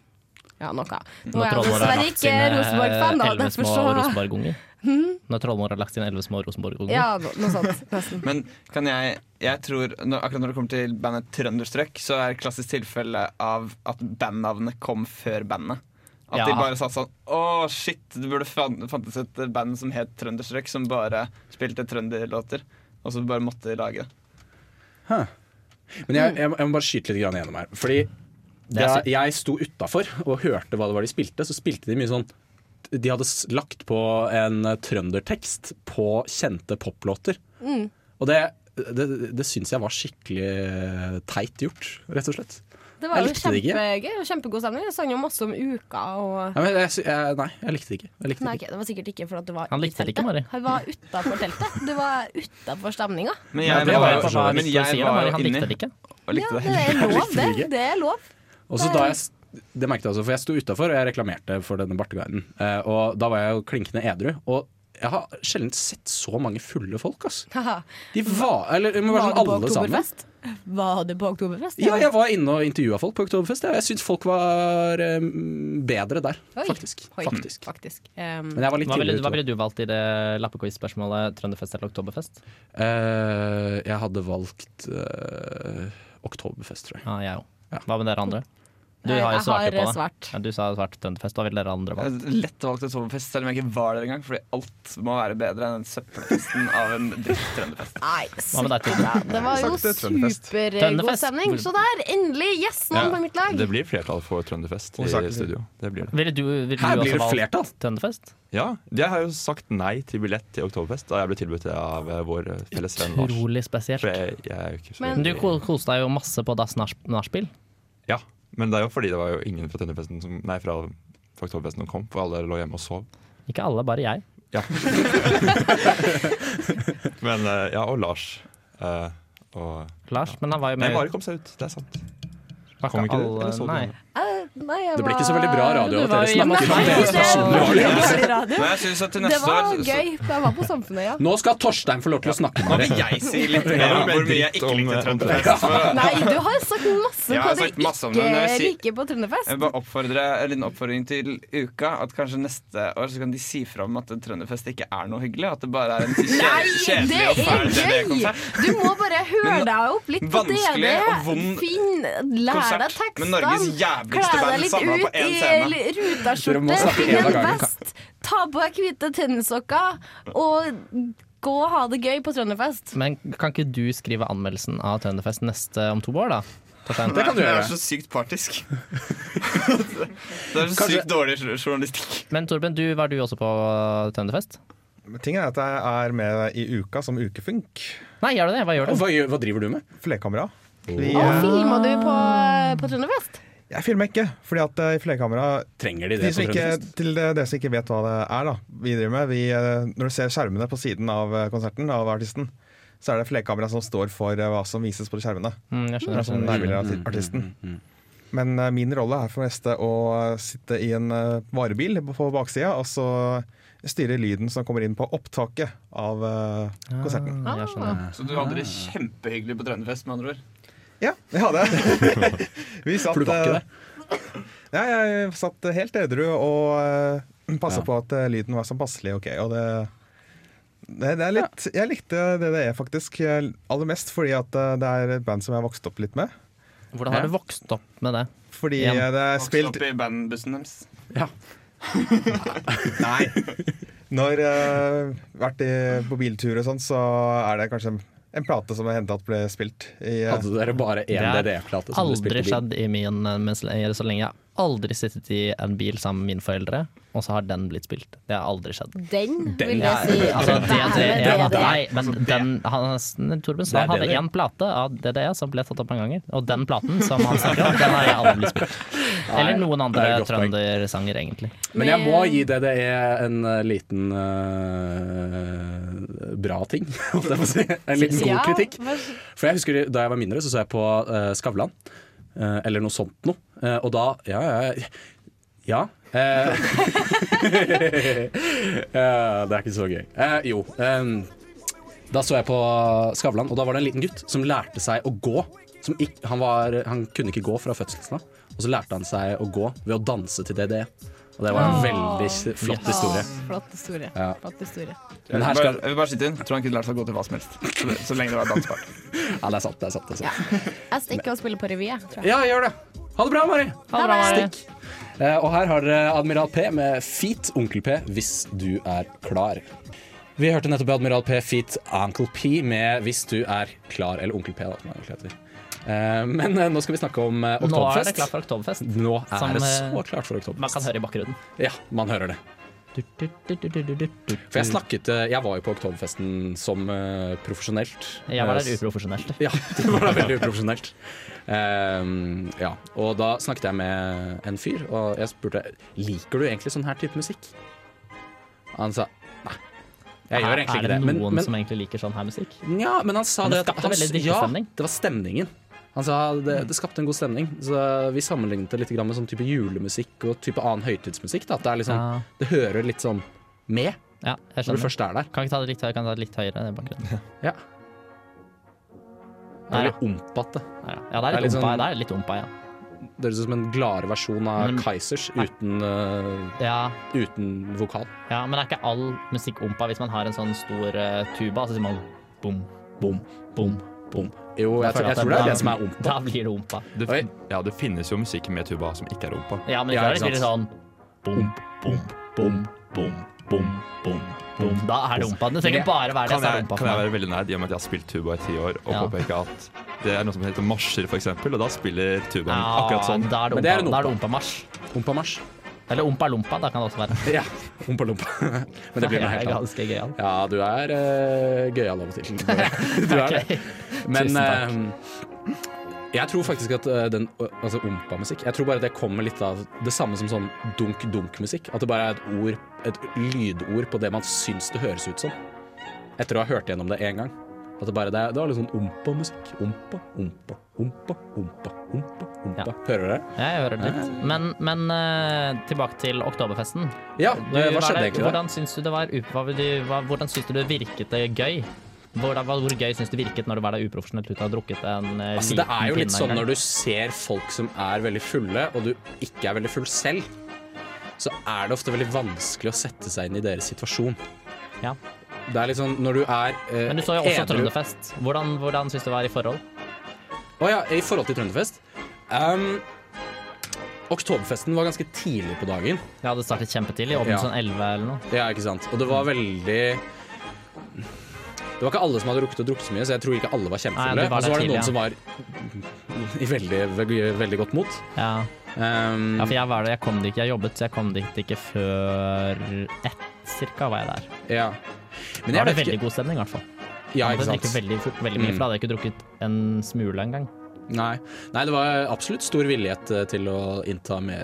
Ja, noe. Nå
Når
er jeg
Trollmor har
dessverre
lagt
ikke
sine, eh,
Rosenborg-fan, da.
elleve
Derfor
små
så
Rosenborg-unger.
Hm?
Når Trollmor har lagt sine elleve små Rosenborg-unger.
Ja, no- noe sånt. Nesten.
Men kan jeg, jeg tror, når, akkurat når det kommer til bandet Trønderstrøk, så er det et klassisk tilfelle av at bandnavnet kom før bandet.
Ja.
At de bare satt sånn Å, shit, det burde fan, fantes et band som het Trønderstrøk, som bare spilte trønderlåter. Og så bare måtte de lage det.
Huh. Men jeg, jeg, må- jeg må bare skyte litt grann gjennom her. Fordi
er
da jeg sto utafor og hørte hva det var de spilte, så spilte de mye sånn De hadde s- lagt på en eh, trøndertekst på kjente poplåter.
Mm.
Og det, det, det syns jeg var skikkelig eh, teit gjort, rett og slett.
Det var
jeg
jo
likte det ikke.
kjempegøy og kjempegod stemning. Jeg sang jo masse om uka og
Nei, men jeg, sy- jeg, nei, jeg likte det ikke. Jeg likte
Nei,
det
ok, det var sikkert ikke fordi at du var
Han
i
likte det
teltet.
ikke, Mari.
Han var utafor teltet. Du var utafor stemninga.
Men
Ja,
jeg,
det var
var
jo for så
jo
vidt
men
det du
jeg
sier,
var
Mari,
jo
han
inni.
likte det ikke.
Og likte
Det er
Jeg
lov,
likte
det.
det ikke.
Det er lov.
Og så da jeg, det merket jeg også, for jeg sto utafor og jeg reklamerte for denne barteguiden. Eh, og da var jeg jo klinkende edru. Og jeg har sjelden sett så mange fulle folk, ass.
Haha.
De var Eller men bare
Var du
sånn
på
alle sammen.
oktoberfest? Var du på oktoberfest?
Ja, jeg var inne og intervjua folk på Oktoberfest. Jeg, jeg syns folk var eh, bedre der,
Oi.
faktisk.
Oi,
faktisk.
faktisk. Um,
Men jeg var litt
hva, ville,
tidlig ute
hva
da.
ville du valgt i det lappequiz-spørsmålet Trønderfest eller Oktoberfest?
Eh, jeg hadde valgt eh, Oktoberfest, tror jeg.
Ja, jeg òg. Hva med dere andre? Du
Nei,
har jo
jeg
svart
har eh,
på det.
svart.
Ja, du sa svart Tønderfest. Hva ville dere andre valgt?
Jeg lett valgt et sommerfest, selv om jeg ikke var der engang. Fordi alt må være bedre enn den søppelfesten av en dritt-trønderfest.
Nei,
Hva med deg, Tone?
Det var jo
Sakte Trønderfest.
supergod
Trønderfest.
stemning. Så der, endelig! Yes, noen på mitt lag.
Det blir flertall for Trønderfest i
Hovedsakelig.
studio. Det blir det.
Ville du, ville
Her
du også
blir det
valgt
flertall.
Tønderfest?
Ja, Jeg har jo sagt nei til billett til Oktoberfest da jeg ble tilbudt det av eh, vår eh, felles venn Lars.
Utrolig spesielt.
For jeg, jeg er jo ikke så
Men du ko- koste deg jo masse på dass nach- nachspiel.
Ja, men det er jo fordi det var jo ingen fra Tønderfesten som, Nei, fra, fra Oktoberfesten som kom, for alle lå hjemme og sov.
Ikke alle, bare jeg.
Ja. men eh, ja, og Lars. eh, og
Lars, men han var jo med
Nei, Mari kom seg ut, det er sant.
Var
Kom
ikke
ikke du,
alle-
eller så du
nei.
henne?
Eh, nei, jeg
Det blir
var-
ikke så veldig bra radio
Du
at
var
dere
jo hjemme.
snakker om
Nei,
deres stasjon.
det var dårlig radio.
Men jeg synes at til neste
Det var
år så-
gøy. Jeg var på Samfunnet, ja.
Nå skal Torstein få lov til å snakke
Nå
med
vil
dere.
jeg si litt mer om eh, hvor mye jeg ikke
eh,
likte Trønderfest.
Nei, du har sagt masse på
Jeg har
det
sagt masse om det,
ikke
men jeg sier-
liker på Trønderfest.
Jeg bare oppfordrer En liten oppfordring til uka. At kanskje neste år så kan de si fra om at Trønderfest ikke er noe hyggelig. At det bare er en
Nei,
kje-
det
kjedelig og
er
fæl
gøy!
DDE-konsert.
Du må bare høre
Men
deg opp litt på
vanskelig
DD.
og vond
Finn, lær deg
konsert med
tekstene.
Norges jævligste band samlet på én scene.
Kle deg litt ut i ruta
Dere må
skjorte,
snakke
finn
en av
en
gangen.
vest, ta på deg hvite tennissokker og gå og ha det gøy på Trønderfest.
Men kan ikke du skrive anmeldelsen av Tønderfest neste om to år, da? Torstein?
Nei, Det er så sykt partisk. det er så
Kanskje-
sykt dårlig journalistikk.
Men Torben, du, var du også på Tønderfest?
Men Ting er at jeg er med i uka som ukefunk.
Nei, gjør du det? Hva gjør du?
Hva, driver du med?
Flerkamera. Vi,
Og
eh,
filma du på, på Trønderfest?
Jeg filmer ikke, fordi at eh, i flerkamera
Trenger de det
de som
på
ikke,
Trønderfest?
Til eh, dere som ikke vet hva det er, da. Vi driver med vi, eh, Når du ser skjermene på siden av eh, konserten av artisten, så er det flerkamera som står for eh, hva som vises på de skjermene.
Mm, jeg skjønner,
Det er sånn
jeg skjønner.
nærmere arti-
Mm, mm,
artisten. Men eh, min rolle er for det meste å eh, sitte i en eh, varebil på baksida, og så styre lyden som kommer inn på opptaket av
Ah.
eh, konserten.
Mm,
Så du hadde det kjempehyggelig på Trønderfest, med andre ord?
Ja, jeg hadde det. Vi satt, eh,
For du var ikke det?
Ja, jeg satt helt edru og uh, passa
Ja.
på at eh, lyden var sånn passelig ok. Og det, det, det er litt Jeg likte det det er, faktisk. eh, Aller mest fordi at eh, det er et band som jeg har vokst opp litt med.
Hvordan har du vokst opp med det?
Fordi
Igjen.
eh, det er
Vokste
spilt
opp i bandbussen deres?
Nei. Når uh, vært i, på biltur og sånn, så er det kanskje en, en plate som er hentet at ble spilt i eh,
Hadde dere bare én DDE-plate som dere
aldri
spilte i bil?
skjedd i min eh, mens, Så lenge jeg har aldri sittet i en bil sammen med mine foreldre, og så har den blitt spilt. Det har aldri skjedd.
Den, vil
Ja,
jeg si.
altså, det, det,
Være DDE.
nei,
Altså,
men den, han, Torben
Det
sa
er
han hadde
DDE.
én plate av DDE som ble tatt opp mange ganger, og den platen som han snakker om, den har jeg aldri blitt spilt. Eller
Nei,
noen
det
andre
er et godt poeng.
trøndersanger, egentlig.
Men jeg må gi DDE en eh, liten eh, bra ting, holdt jeg på å si. En liten god
Ja,
kritikk.
vær så-
For jeg husker Da jeg var mindre, så så jeg på eh, Skavlan, eh, eller noe sånt noe. Eh, og da Ja, ja, ja. eh, eh, det er ikke så gøy. Eh, jo. em, da så jeg på Skavlan, og da var det en liten gutt som lærte seg å gå. Som ikk, han, var, han kunne ikke gå fra fødselen av, og så lærte han seg å gå ved å danse til DDE. Og det var en veldig s- flott historie.
Flott historie.
Ja.
Flott historie.
Jeg
Men
vil
her
bare,
skal
jeg vil bare sitte inn. Tror han kunne lært seg å gå til hva som helst. Så, så lenge det var dansbart.
Ja, det er sant. det er sant, det er sant.
Jeg stikker og spiller på revy, jeg. tror jeg.
Ja, gjør det. Ha det bra, Mari.
Ha det bra, Mari.
Stikk. Eh, Og her har dere Admiral P med Feet Onkel P hvis du er klar. Vi hørte nettopp Admiral P Feet Uncle P med Hvis du er klar, eller Onkel P, da, som han egentlig heter. Eh, Men eh, nå skal vi snakke om eh,
Nå er det
Oktoberfest.
klart for Oktoberfest.
Nå er
Som,
det
eh,
så klart for Oktoberfest.
Man kan høre i bakgrunnen.
Ja, man hører det. For jeg snakket eh, Jeg var jo på Oktoberfesten som eh, profesjonelt.
Jeg var der
Eh, s-
uprofesjonelt.
Ja, du var der veldig uprofesjonelt. Ehm, ja. Og da snakket jeg med en fyr, og jeg spurte Liker du egentlig sånn her type musikk. Han sa nei. Jeg gjør egentlig
er det
ikke det.
noen
Men, men,
som egentlig liker sånn her musikk?
ja, men han sa
Men
det,
det
at
skapte
han,
veldig
ja,
drikkestemning.
det var stemningen. Han sa det, det skapte en god stemning. Så vi sammenlignet det litt grann med sånn type julemusikk og type annen høytidsmusikk. Da. At det, er liksom,
Ja.
det hører litt sånn med
Ja, jeg
når
skjønner.
du først er der.
Kan vi ta det litt høyere? Kan vi ta det litt høyere i bakgrunnen?
Ja. Det
Der,
er
ja.
litt ompete.
Ja, ja, det er litt
sånn-
ompa, det er litt ompa, ja.
Det høres ut som en gladere versjon av
Men-
Kaizers uten, eh,
Ja.
uten vokal.
ja, men er ikke all musikk ompa hvis man har en sånn stor eh, tuba? Altså sier man bom, bom, bom,
om. Jo, jeg, tror- jeg tror det er det som er ompa.
Da blir det ompa.
Det, fin- ja, det finnes jo musikk med tuba som ikke er ompa.
Ja, men ikke er det litt sånn bom, bom, bom, bom, bom, bom, bom. Da er det ompa. Det trenger bare være det,
Kan
så er det
jeg,
ompa
kan jeg
for
være
meg.
veldig nerd i og med at jeg har spilt tuba i ti år, og
Ja.
påpeke at det er noe som heter marsjer, f.eks., og da spiller tubaen
Ah,
Ja,
akkurat sånn.
Da er det ompa- da er det ompamarsj.
Ompamarsj.
Eller ompa-lompa, da kan det også være.
Ja, ompa-lompa. Men det blir noe helt annet.
Ganske gøyal.
Ja, du er uh, gøyal av og til. Du er det. Men
Tusen takk.
eh, jeg tror faktisk at eh, den Altså ompa-musikk Jeg tror bare det kommer litt av det samme som sånn dunk-dunk-musikk. At det bare er et ord, et lydord på det man syns det høres ut som. Etter å ha hørt gjennom det én gang. At det bare det, er- det var litt sånn ompa-musikk. Ompa, ompa, ompa, ompa, ompa. ompa. Hører du det?
Jeg hører det litt. Men, men eh, tilbake til oktoberfesten.
Ja,
Du,
eh, hva
er
skjedde
det-
egentlig der?
Hvordan syns du det var u- hva, vil du- hva, Hvordan syns du det virket eh, gøy? Hvordan, hva- hvor gøy syns du virket når du var der uprofesjonelt uten å ha drukket en eh,
Altså,
liten
det er jo litt
pinne
sånn
engang?
når du ser folk som er veldig fulle, og du ikke er veldig full selv, så er det ofte veldig vanskelig å sette seg inn i deres situasjon.
Ja.
Det er litt sånn når du er eh,
Men du så jo også
edru-
Trønderfest. Hvordan, hvordan syns du det var i forhold?
Å ja, i forhold til Trønderfest. Um, Oktoberfesten var ganske tidlig på dagen.
Ja, det startet kjempetidlig. Åpnet sånn 11 eller noe.
Ja, ikke sant. Og det
Mm.
var veldig Det var ikke alle som hadde rukket å drukke så mye, så jeg tror ikke alle var
Nei,
kjempefulle.
du var
Og så
der
var det
tidlig,
noen som
ja.
var i veldig, veldig, veldig godt mot.
Ja.
Um,
ja, for jeg var der, jeg kom dit ikke, jeg jobbet, så jeg kom dit ikke før ett cirka var jeg der.
Ja. Men
da
jeg
var det
vet
veldig
ikke-
god stemning i hvert fall.
Ja,
Jeg
ikke
drikker
sant.
Veldig, fort, veldig mye,
Mm.
for da hadde jeg ikke drukket en smule engang.
Nei. Nei, det var absolutt stor villighet eh, til å innta mer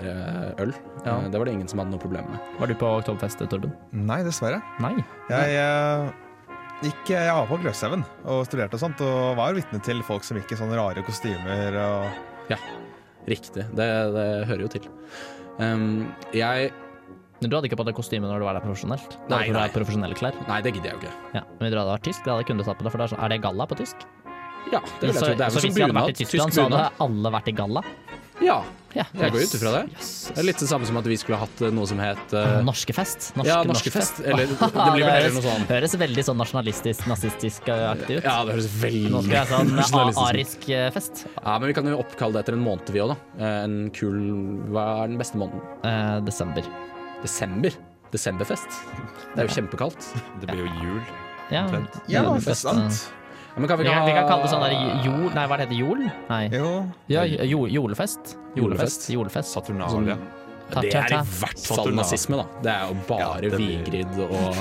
eh, øl.
Ja.
Eh, Det var det ingen som hadde noe problem med.
Var du på oktoberfest, Torben?
Nei, dessverre.
Nei.
Jeg eh, gikk jeg var på Gløshaugen og studerte og sånt, og var jo vitne til folk som gikk i sånne rare kostymer og
Ja, riktig. Det, det hører jo til. Um, jeg
Men du hadde ikke på deg kostyme når du var der profesjonelt? Du
Nei,
hadde på
nei.
deg profesjonelle klær?
Nei, det gidder jeg jo ikke.
Ja, men hvis du hadde vært tysk, da hadde jeg kunnet tatt på deg, for det er, sånn, er det galla på tysk?
Ja, det vil jeg
så,
tro. Det er
så
vel som
hvis vi hadde vært i
bunad.
Tyskland,
Tysk
så hadde
bunad.
alle vært i galla?
Ja.
Ja,
Jeg går ut ifra det.
Yes.
Det er litt det samme som at vi skulle hatt eh, noe som het eh,
Norskefest.
ja, norskefest. Eller det
Ah,
blir vel heller noe
høres-
sånn.
Høres veldig sånn nasjonalistisk, nazistisk eh, aktig ut.
Ja, det høres veldig
Nå skal jeg ha sånn
nasjonalistisk ut.
arisk eh, fest.
Ja, men vi kan jo oppkalle det etter en måned, vi òg, da. Eh, En kul Hva er den beste måneden?
Eh, desember.
Desember? Desemberfest? Det er jo kjempekaldt.
Det blir jo jul.
Ja,
omtrent.
julefest, eh.
Ja, men kan vi
vi,
ikke
kan,
ha
vi kan kalle det sånn der j- jol... Nei, hva heter det? Jol? Nei. Ja, j- jo, jolefest.
Julefest.
Julefest. Julefest.
Saturnalia.
Ta-
Det
ta-
er i
ta.
hvert fall nazisme, Sånn da. Det er jo bare Vigrid og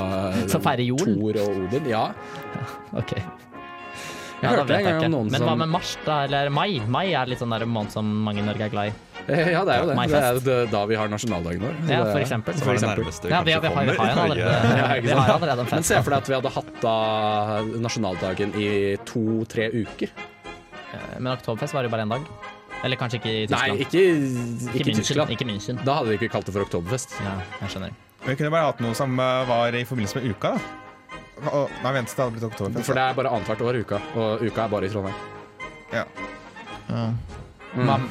Som feirer jol?
Thor og Odin. Ja.
Ok.
Jeg
Ja, da
hørte
vet
en
jeg
gang om
ikke.
noen
Men hva
som
med mars, da? Eller mai? Mai er litt sånn der måned som mange i Norge er glad i.
Eh, Ja, det er jo det. Det er
Maifest.
jo det- da vi har nasjonaldagen vår.
Ja,
Det-
for eksempel.
for
Det var det
eksempel.
nærmeste vi Ja, vi- kanskje vi har- vi har jo kommer. allerede-
Ja, ikke
vi har
sant?
allerede en fest.
Men se for deg at vi hadde hatt da nasjonaldagen i to-tre uker.
Men oktoberfest var det jo bare én dag. Eller kanskje ikke i
Nei,
Tyskland.
ikke, ikke
München,
Tyskland.
Ikke München.
Da hadde de ikke kalt det for oktoberfest.
Ja, jeg skjønner.
Vi kunne bare hatt noe som eh, var i forbindelse med uka, da. Og, nei, vent, det hadde blitt oktoberfest.
For det er bare annethvert år uka, og uka er bare i Trondheim.
Ja.
Hva-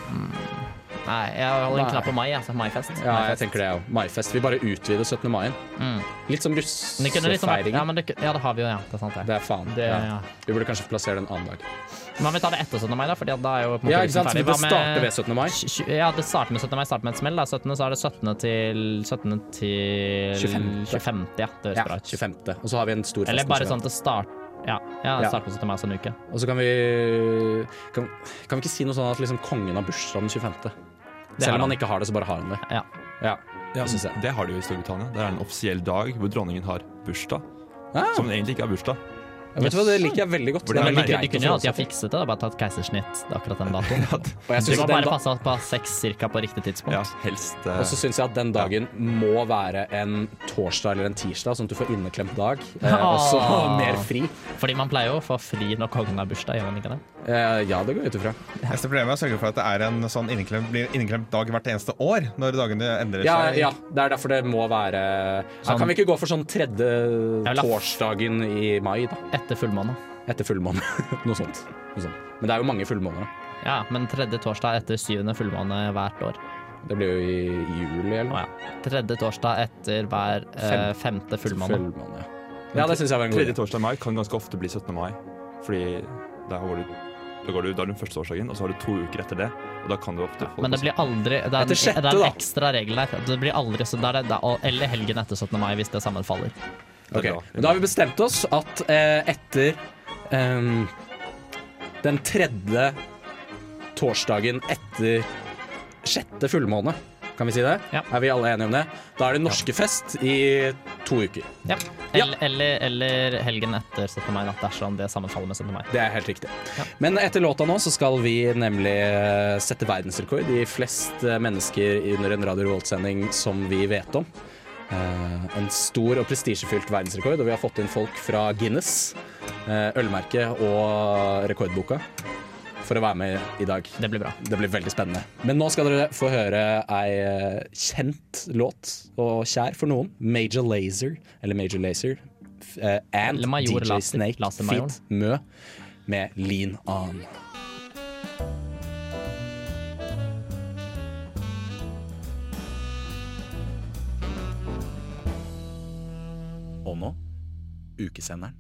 Nei, jeg holder en
Nei.
knapp på mai, altså. Maifest.
Ja, jeg
Maifest.
tenker det, jeg òg. Maifest. Vi bare utvider 17. mai.
Mm.
Litt som
Men det kunne liksom vært-
russefeiringen.
ja, men det, ku- ja, det har vi jo, ja. Det er sant, det.
Det er faen.
Det-
ja.
ja.
Vi burde kanskje plassere det en annen dag.
Men vi tar det etter 17. mai, da, for da er jo på en måte
Ja, ikke
russen
sant? Så
liksom ferdig.
vi
Hva
bør
med-
starte ved 17. mai.
Tj- Ja, det starter med 17. mai, starter med et smell. Da. 17. så er det 17. til 17. til
25..
25. Ja, det høres
Ja,
bra ut.
25. Og så har vi en stor fest.
Eller bare
neste gang.
sånn til start Ja, ja
Ja.
start på 17. mai, sånn uke.
Og så kan vi kan, kan vi ikke si noe sånn at liksom kongen har bursdag den 25.
Det har
Selv om
han.
han ikke har det, så bare har han det.
Ja.
Ja,
Ja,
det synes jeg.
det har de jo i Storbritannia. Det er en offisiell dag hvor dronningen har bursdag. Som egentlig ikke er bursdag.
Ja, Ah, vet du hva, det liker jeg veldig godt.
For
Det
det er
er veldig,
greit
du
å
kunne jo
forholde
alltid ha fikset det, da, bare tatt keisersnitt akkurat den datoen.
Og jeg
du
synes
må
at den
bare
da-
passe på seks cirka på riktig tidspunkt.
Ja, helst eh,
Og så syns jeg at den dagen må være en torsdag eller en tirsdag, sånn at du får inneklemt dag. Eh,
Ah.
og så mer fri.
Fordi man pleier jo å få fri når kongen har bursdag, gjør man ikke det?
Eh, ja, det går jeg ut ifra.
Neste problem er å sørge for at det er en sånn inneklemt, blir inneklemt dag hvert eneste år, når dagene endrer
Ja,
seg.
ja, det er derfor det må være ja,
Sånn-
Kan vi ikke gå for sånn tredje
vil ha-
torsdagen i mai, da?
Etter fullmåne.
Etter fullmåne. Noe sånt. Noe sånt. Men det er jo mange fullmåner, da.
Ja, men tredje torsdag etter syvende fullmåne hvert år.
Det blir jo i i juli, eller noe.
Tredje torsdag etter hver eh, femte fullmåne.
Fullmåne, ja. Ja, det synes jeg var en god idé.
Tredje torsdag i mai kan ganske ofte bli 17. mai. Fordi Da, har du, da, går du, da har du førsteårsdagen, og så har du to uker etter det. Og da kan du ofte få
Men det blir aldri Det er en,
Etter sjette,
det er
da.
en ekstra regel der. Det blir aldri så det er, det er, Eller helgen etter 17. mai, hvis det sammenfaller.
Ok, men Da har vi bestemt oss at eh, etter ehm, den tredje torsdagen etter sjette fullmåne, kan vi si det? Er vi alle enige om det? Da er det norskefest i to uker.
Ja. Eller, eller, eller helgen etter 17. mai, da, dersom det sammenfaller med 17. mai.
Det er helt riktig. Men etter låta nå så skal vi nemlig eh, sette verdensrekord i flest eh, mennesker under en Radio Revolt-sending som vi vet om. Eh, en stor og prestisjefylt verdensrekord, og vi har fått inn folk fra Guinness, eh, ølmerket og rekordboka for å være med i dag.
Det blir bra.
Det blir veldig spennende. Men nå skal dere få høre ei eh, kjent låt, og kjær for noen. Major Lazer, eller Major Lazer, f- eh, and
Eller Major
DJ
Lazer.
Snake
Lazer-majoren.
Feet Mø med Lean On. Og nå ukesenderen.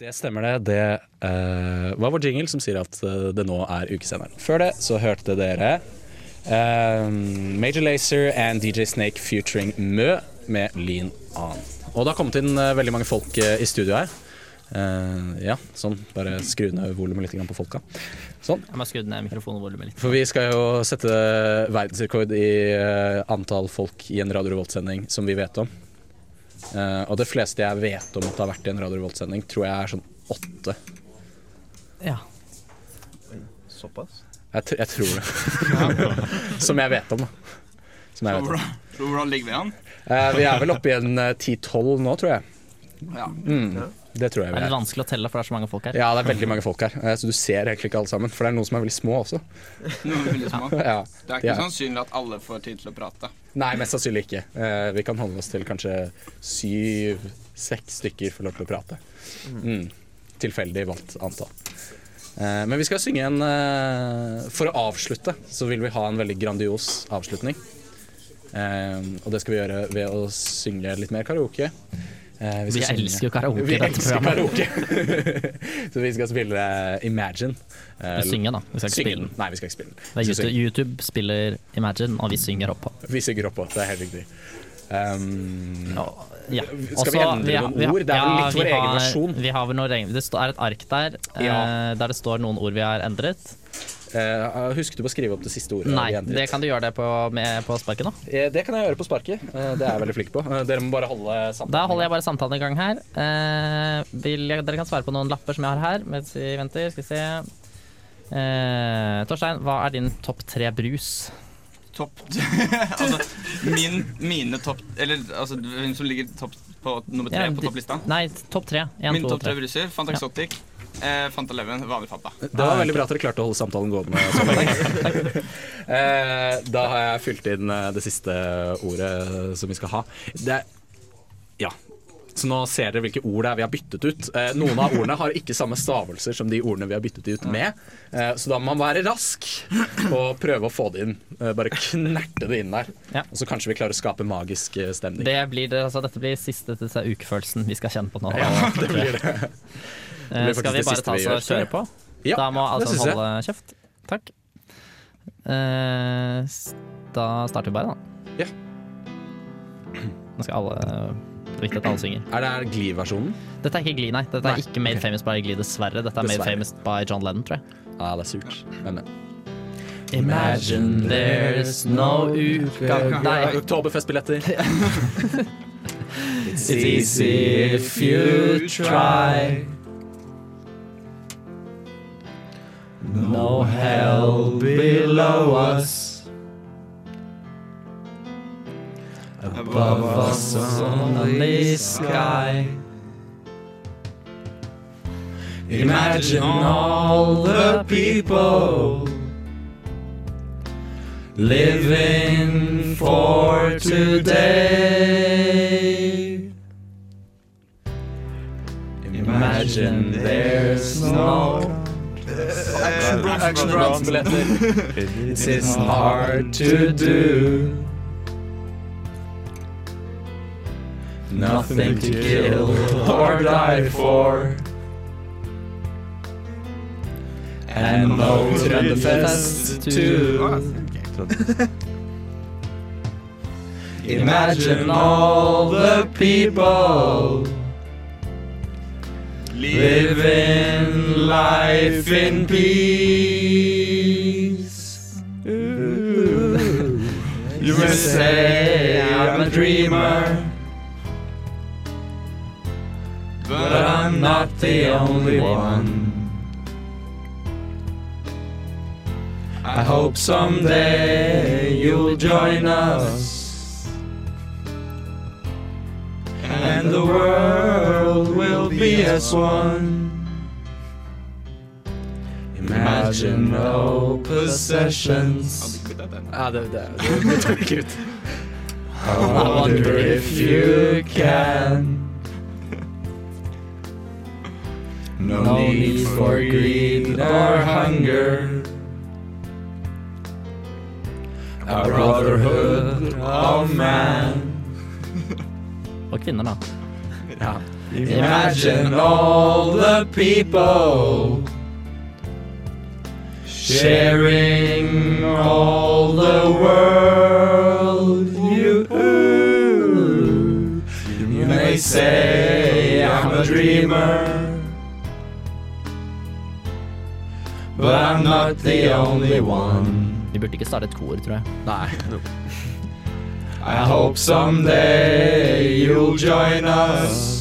Det stemmer det. Det eh, var vår jingle som sier at eh, det nå er ukesenderen. Før det så hørte dere eh, Major Lazer and DJ Snake featuring Mø med Lean On. Og det har kommet inn eh, veldig mange folk eh, i studio her. Eh, ja, sånn. Bare skru ned volumet litt grann på folka. Sånn.
Jeg må skru ned mikrofonvolumet litt.
For vi skal jo sette verdensrekord i eh, antall folk i en Radio Revolt-sending som vi vet om. Eh, og det fleste jeg vet om at det har vært i en Radio Revolt-sending, tror jeg er sånn åtte.
Såpass?
Jeg, tr jeg tror det. som jeg vet om, da. Som
Så
jeg vet om.
hvordan- så hvordan ligger vi an?
Eh, vi er vel oppe i en eh, 10-12 nå, tror jeg.
Ja.
Mm, det tror
Det
jeg
er
vi
litt
er.
vanskelig å telle, for det er så mange folk her.
Ja, det er veldig mange folk her, eh, så du ser egentlig ikke alle sammen. For det er noen som er veldig små også.
Noen er veldig små.
Ja,
Det er
de
ikke
er-
sannsynlig at alle får tid til å prate.
Nei, mest sannsynlig ikke. Eh, vi kan holde oss til kanskje syv-seks stykker får lov til å prate. Mm. Tilfeldig valgt antall. Eh, men vi skal synge en eh, For å avslutte så vil vi ha en veldig grandios avslutning. Eh, og det skal vi gjøre ved å synge litt mer karaoke. Eh,
Vi
skal synge-
elsker jo karaoke i
Vi
dette
elsker
programmet.
karaoke. så vi skal spille Imagine. Eh,
Men synge, da. Vi skal ikke
synge
spille den.
den. Nei, vi skal ikke spille den.
Det er
Vi skal
YouTube,
synge.
YouTube spiller Imagine, og vi synger oppå.
Vi synger oppå, det er helt riktig. Um,
Ja.
Skal vi
Også-
endre
har-
noen
vi har-
ord? Det er vel
ja,
litt vår
vi
egen
har-
versjon.
Vi har vel noen regler. Det står- er et ark der eh,
Ja.
der det står noen ord vi har endret.
Eh, husker du på å skrive opp det siste ordet?
Nei,
vi endret?
det kan du gjøre det på, med, på sparket nå.
Eh, det kan jeg gjøre på sparket. Eh, det er jeg veldig flink på. Eh, dere må bare holde samtalen.
Da holder jeg bare samtalen i gang her. Eh, vil jeg, dere kan svare på noen lapper som jeg har her mens vi venter. Skal vi se. Eh, Torstein, hva er din topp tre brus?
Topp Altså, min, mine topp Eller altså, hun som ligger topp på nummer tre
Ja,
på
di-
topplista.
Nei, topp tre. En,
Min
to,
topp tre
tre.
bruser. Fanta Exotic, eh, Fanta Leven, vanlig Fanta.
Det var veldig bra at dere klarte å holde samtalen gående. så lenge. Eh, da har jeg fylt inn eh, det siste ordet som vi skal ha. Det er Ja. Så nå ser dere hvilke ord det er vi har byttet ut. Eh, noen av ordene har ikke samme stavelser som de ordene vi har byttet ut med. Eh, så da må man være rask og prøve å få det inn. Eh, bare knerte det inn der. Og så kanskje vi klarer å skape magisk eh, stemning.
Det blir, det- altså, dette blir siste til seg ukefølelsen vi skal kjenne på nå.
Ja, det blir det. Det
Eh,
blir faktisk
skal vi
det
bare
siste
ta oss
vi
og
gjør.
kjøre på?
Ja,
da må
det
alle
synes jeg.
holde kjeft. Takk. Eh, s- da starter vi bare, da.
Ja.
Nå skal alle Det er viktig at alle synger.
Er det er Glee-versjonen?
Dette er ikke Glee, nei. Dette er ikke Made Famous by Glee, dessverre. Dette er
Dessverre.
Made Famous by John Lennon, tror jeg.
Ja, Ah, det er surt. Men, eh, men.
Imagine there's no utgang Nei.
Oktoberfestbilletter.
It's easy if you try.
No hell below us. Above us only sky. Imagine all the people living for today. Imagine there's no Action Bronze billetter. It is hard to do. Nothing to kill or die for. And no Trønderfest too. Imagine all the people living life in peace. You may say I'm a dreamer, but I'm not the only one. I hope someday you'll join us. And the world will be as one. Imagine no possessions. Ja, Ah, det, det, det, er det tok ut. I wonder if you can. No need for greed or hunger. A brotherhood of man.
Og kvinner, da.
Ja. Imagine all the people sharing all the world. You, you may say I'm a dreamer, but I'm not the only one.
Vi burde ikke starte et kor, tror jeg.
Nei. I hope someday you'll join us.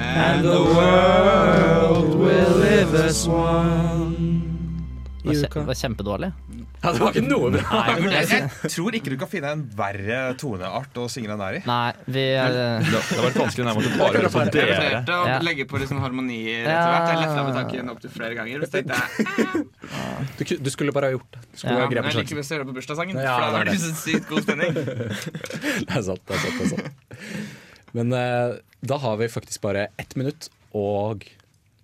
And the world will live as one.
Det var kje- det var kjempedårlig.
Ja, det var ikke noe bra.
Nei, men
jeg,
jeg-
jeg tror ikke du kan finne en verre toneart å synge den der i.
Nei, vi
Det var litt vanskelig nærmere å
Det
bare
var
høre på
bare-
dere.
Prioriterte å
Ja.
legge på liksom harmonier etter
Ja.
hvert. Jeg letta med tanken opptil flere ganger. Så tenkte jeg
Du, ku- du skulle bare ha gjort det. Du skulle
ja,
ha
men
grepet
jeg liker
sjansen.
best å gjøre det på bursdagssangen,
Ja,
for da
det er
var det
det.
så sykt god stemning.
Det er sant, det er sant. Det er sant. Men eh, da har vi faktisk bare ett minutt og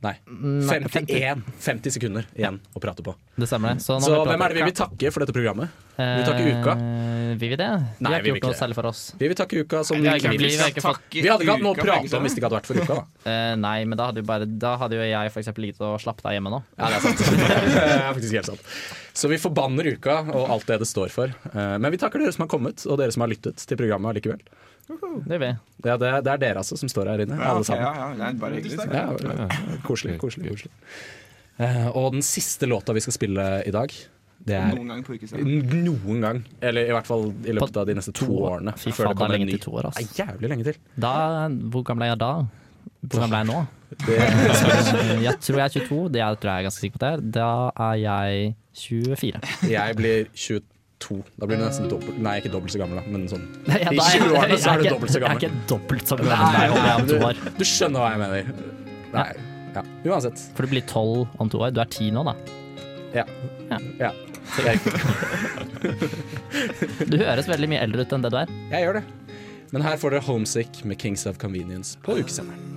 Nei,
Nei,
51 50 sekunder igjen å prate på.
Det stemmer, det.
Så,
nå har vi
hvem
pratet-
er det vi vil takke for dette programmet? Vi vil takke uka.
Eh, Vil vi det? vi
Nei,
har
vi
ikke
vil
gjort
ikke
noe
det.
særlig for oss.
Vi vil takke uka som
Nei, vi har ikke- vi har ikke fått-
Vi hadde ikke hatt noe å
Uka,
prate
faktisk,
om hvis det ikke hadde vært for uka. Da.
Eh, nei, men da hadde, jo bare, da hadde jo jeg for eksempel ligget og slappet av hjemme nå.
Ja, det er sant. det er faktisk helt sant. Så vi forbanner uka og alt det det står for. Eh, Men vi takker dere som har kommet, og dere som har lyttet til programmet likevel.
Det gjør vi.
Det er, det det er dere altså som står her inne, alle sammen.
ja, ja, det er bare hyggelig.
Ja, ja, ja. koselig, koselig, koselig. Eh, og den siste låta vi skal spille i dag, det er
Noen gang på ukesending.
Noen gang. Eller i hvert fall i løpet av de neste to årene.
Fy faen, det er lenge til to år, ass.
Det er jævlig lenge til.
Da, hvor gammel er jeg da? Hvor gammel er jeg nå?
Det
Eh, jeg tror jeg er 22, det er- tror jeg er ganske sikker på det. er. Da er jeg 24.
Jeg blir 22. Da blir du nesten dobbelt Nei, ikke dobbelt så gammel, da, men sånn
Nei, ja,
I
da er jeg-
20-årene så
jeg
er du
ikke-
dobbelt så gammel.
Jeg er ikke dobbelt så gammel
Nei,
nei, om jeg er om to
du,
år.
du skjønner hva jeg mener. Nei. Ja. Uansett.
For du blir 12 om to år. Du er 10 nå, da.
Ja.
Ja.
ja. Så Jeg,
Du høres veldig mye eldre ut enn det du er.
jeg gjør det. Men her får dere Homesick med Kings of Convenience på ukesenderen.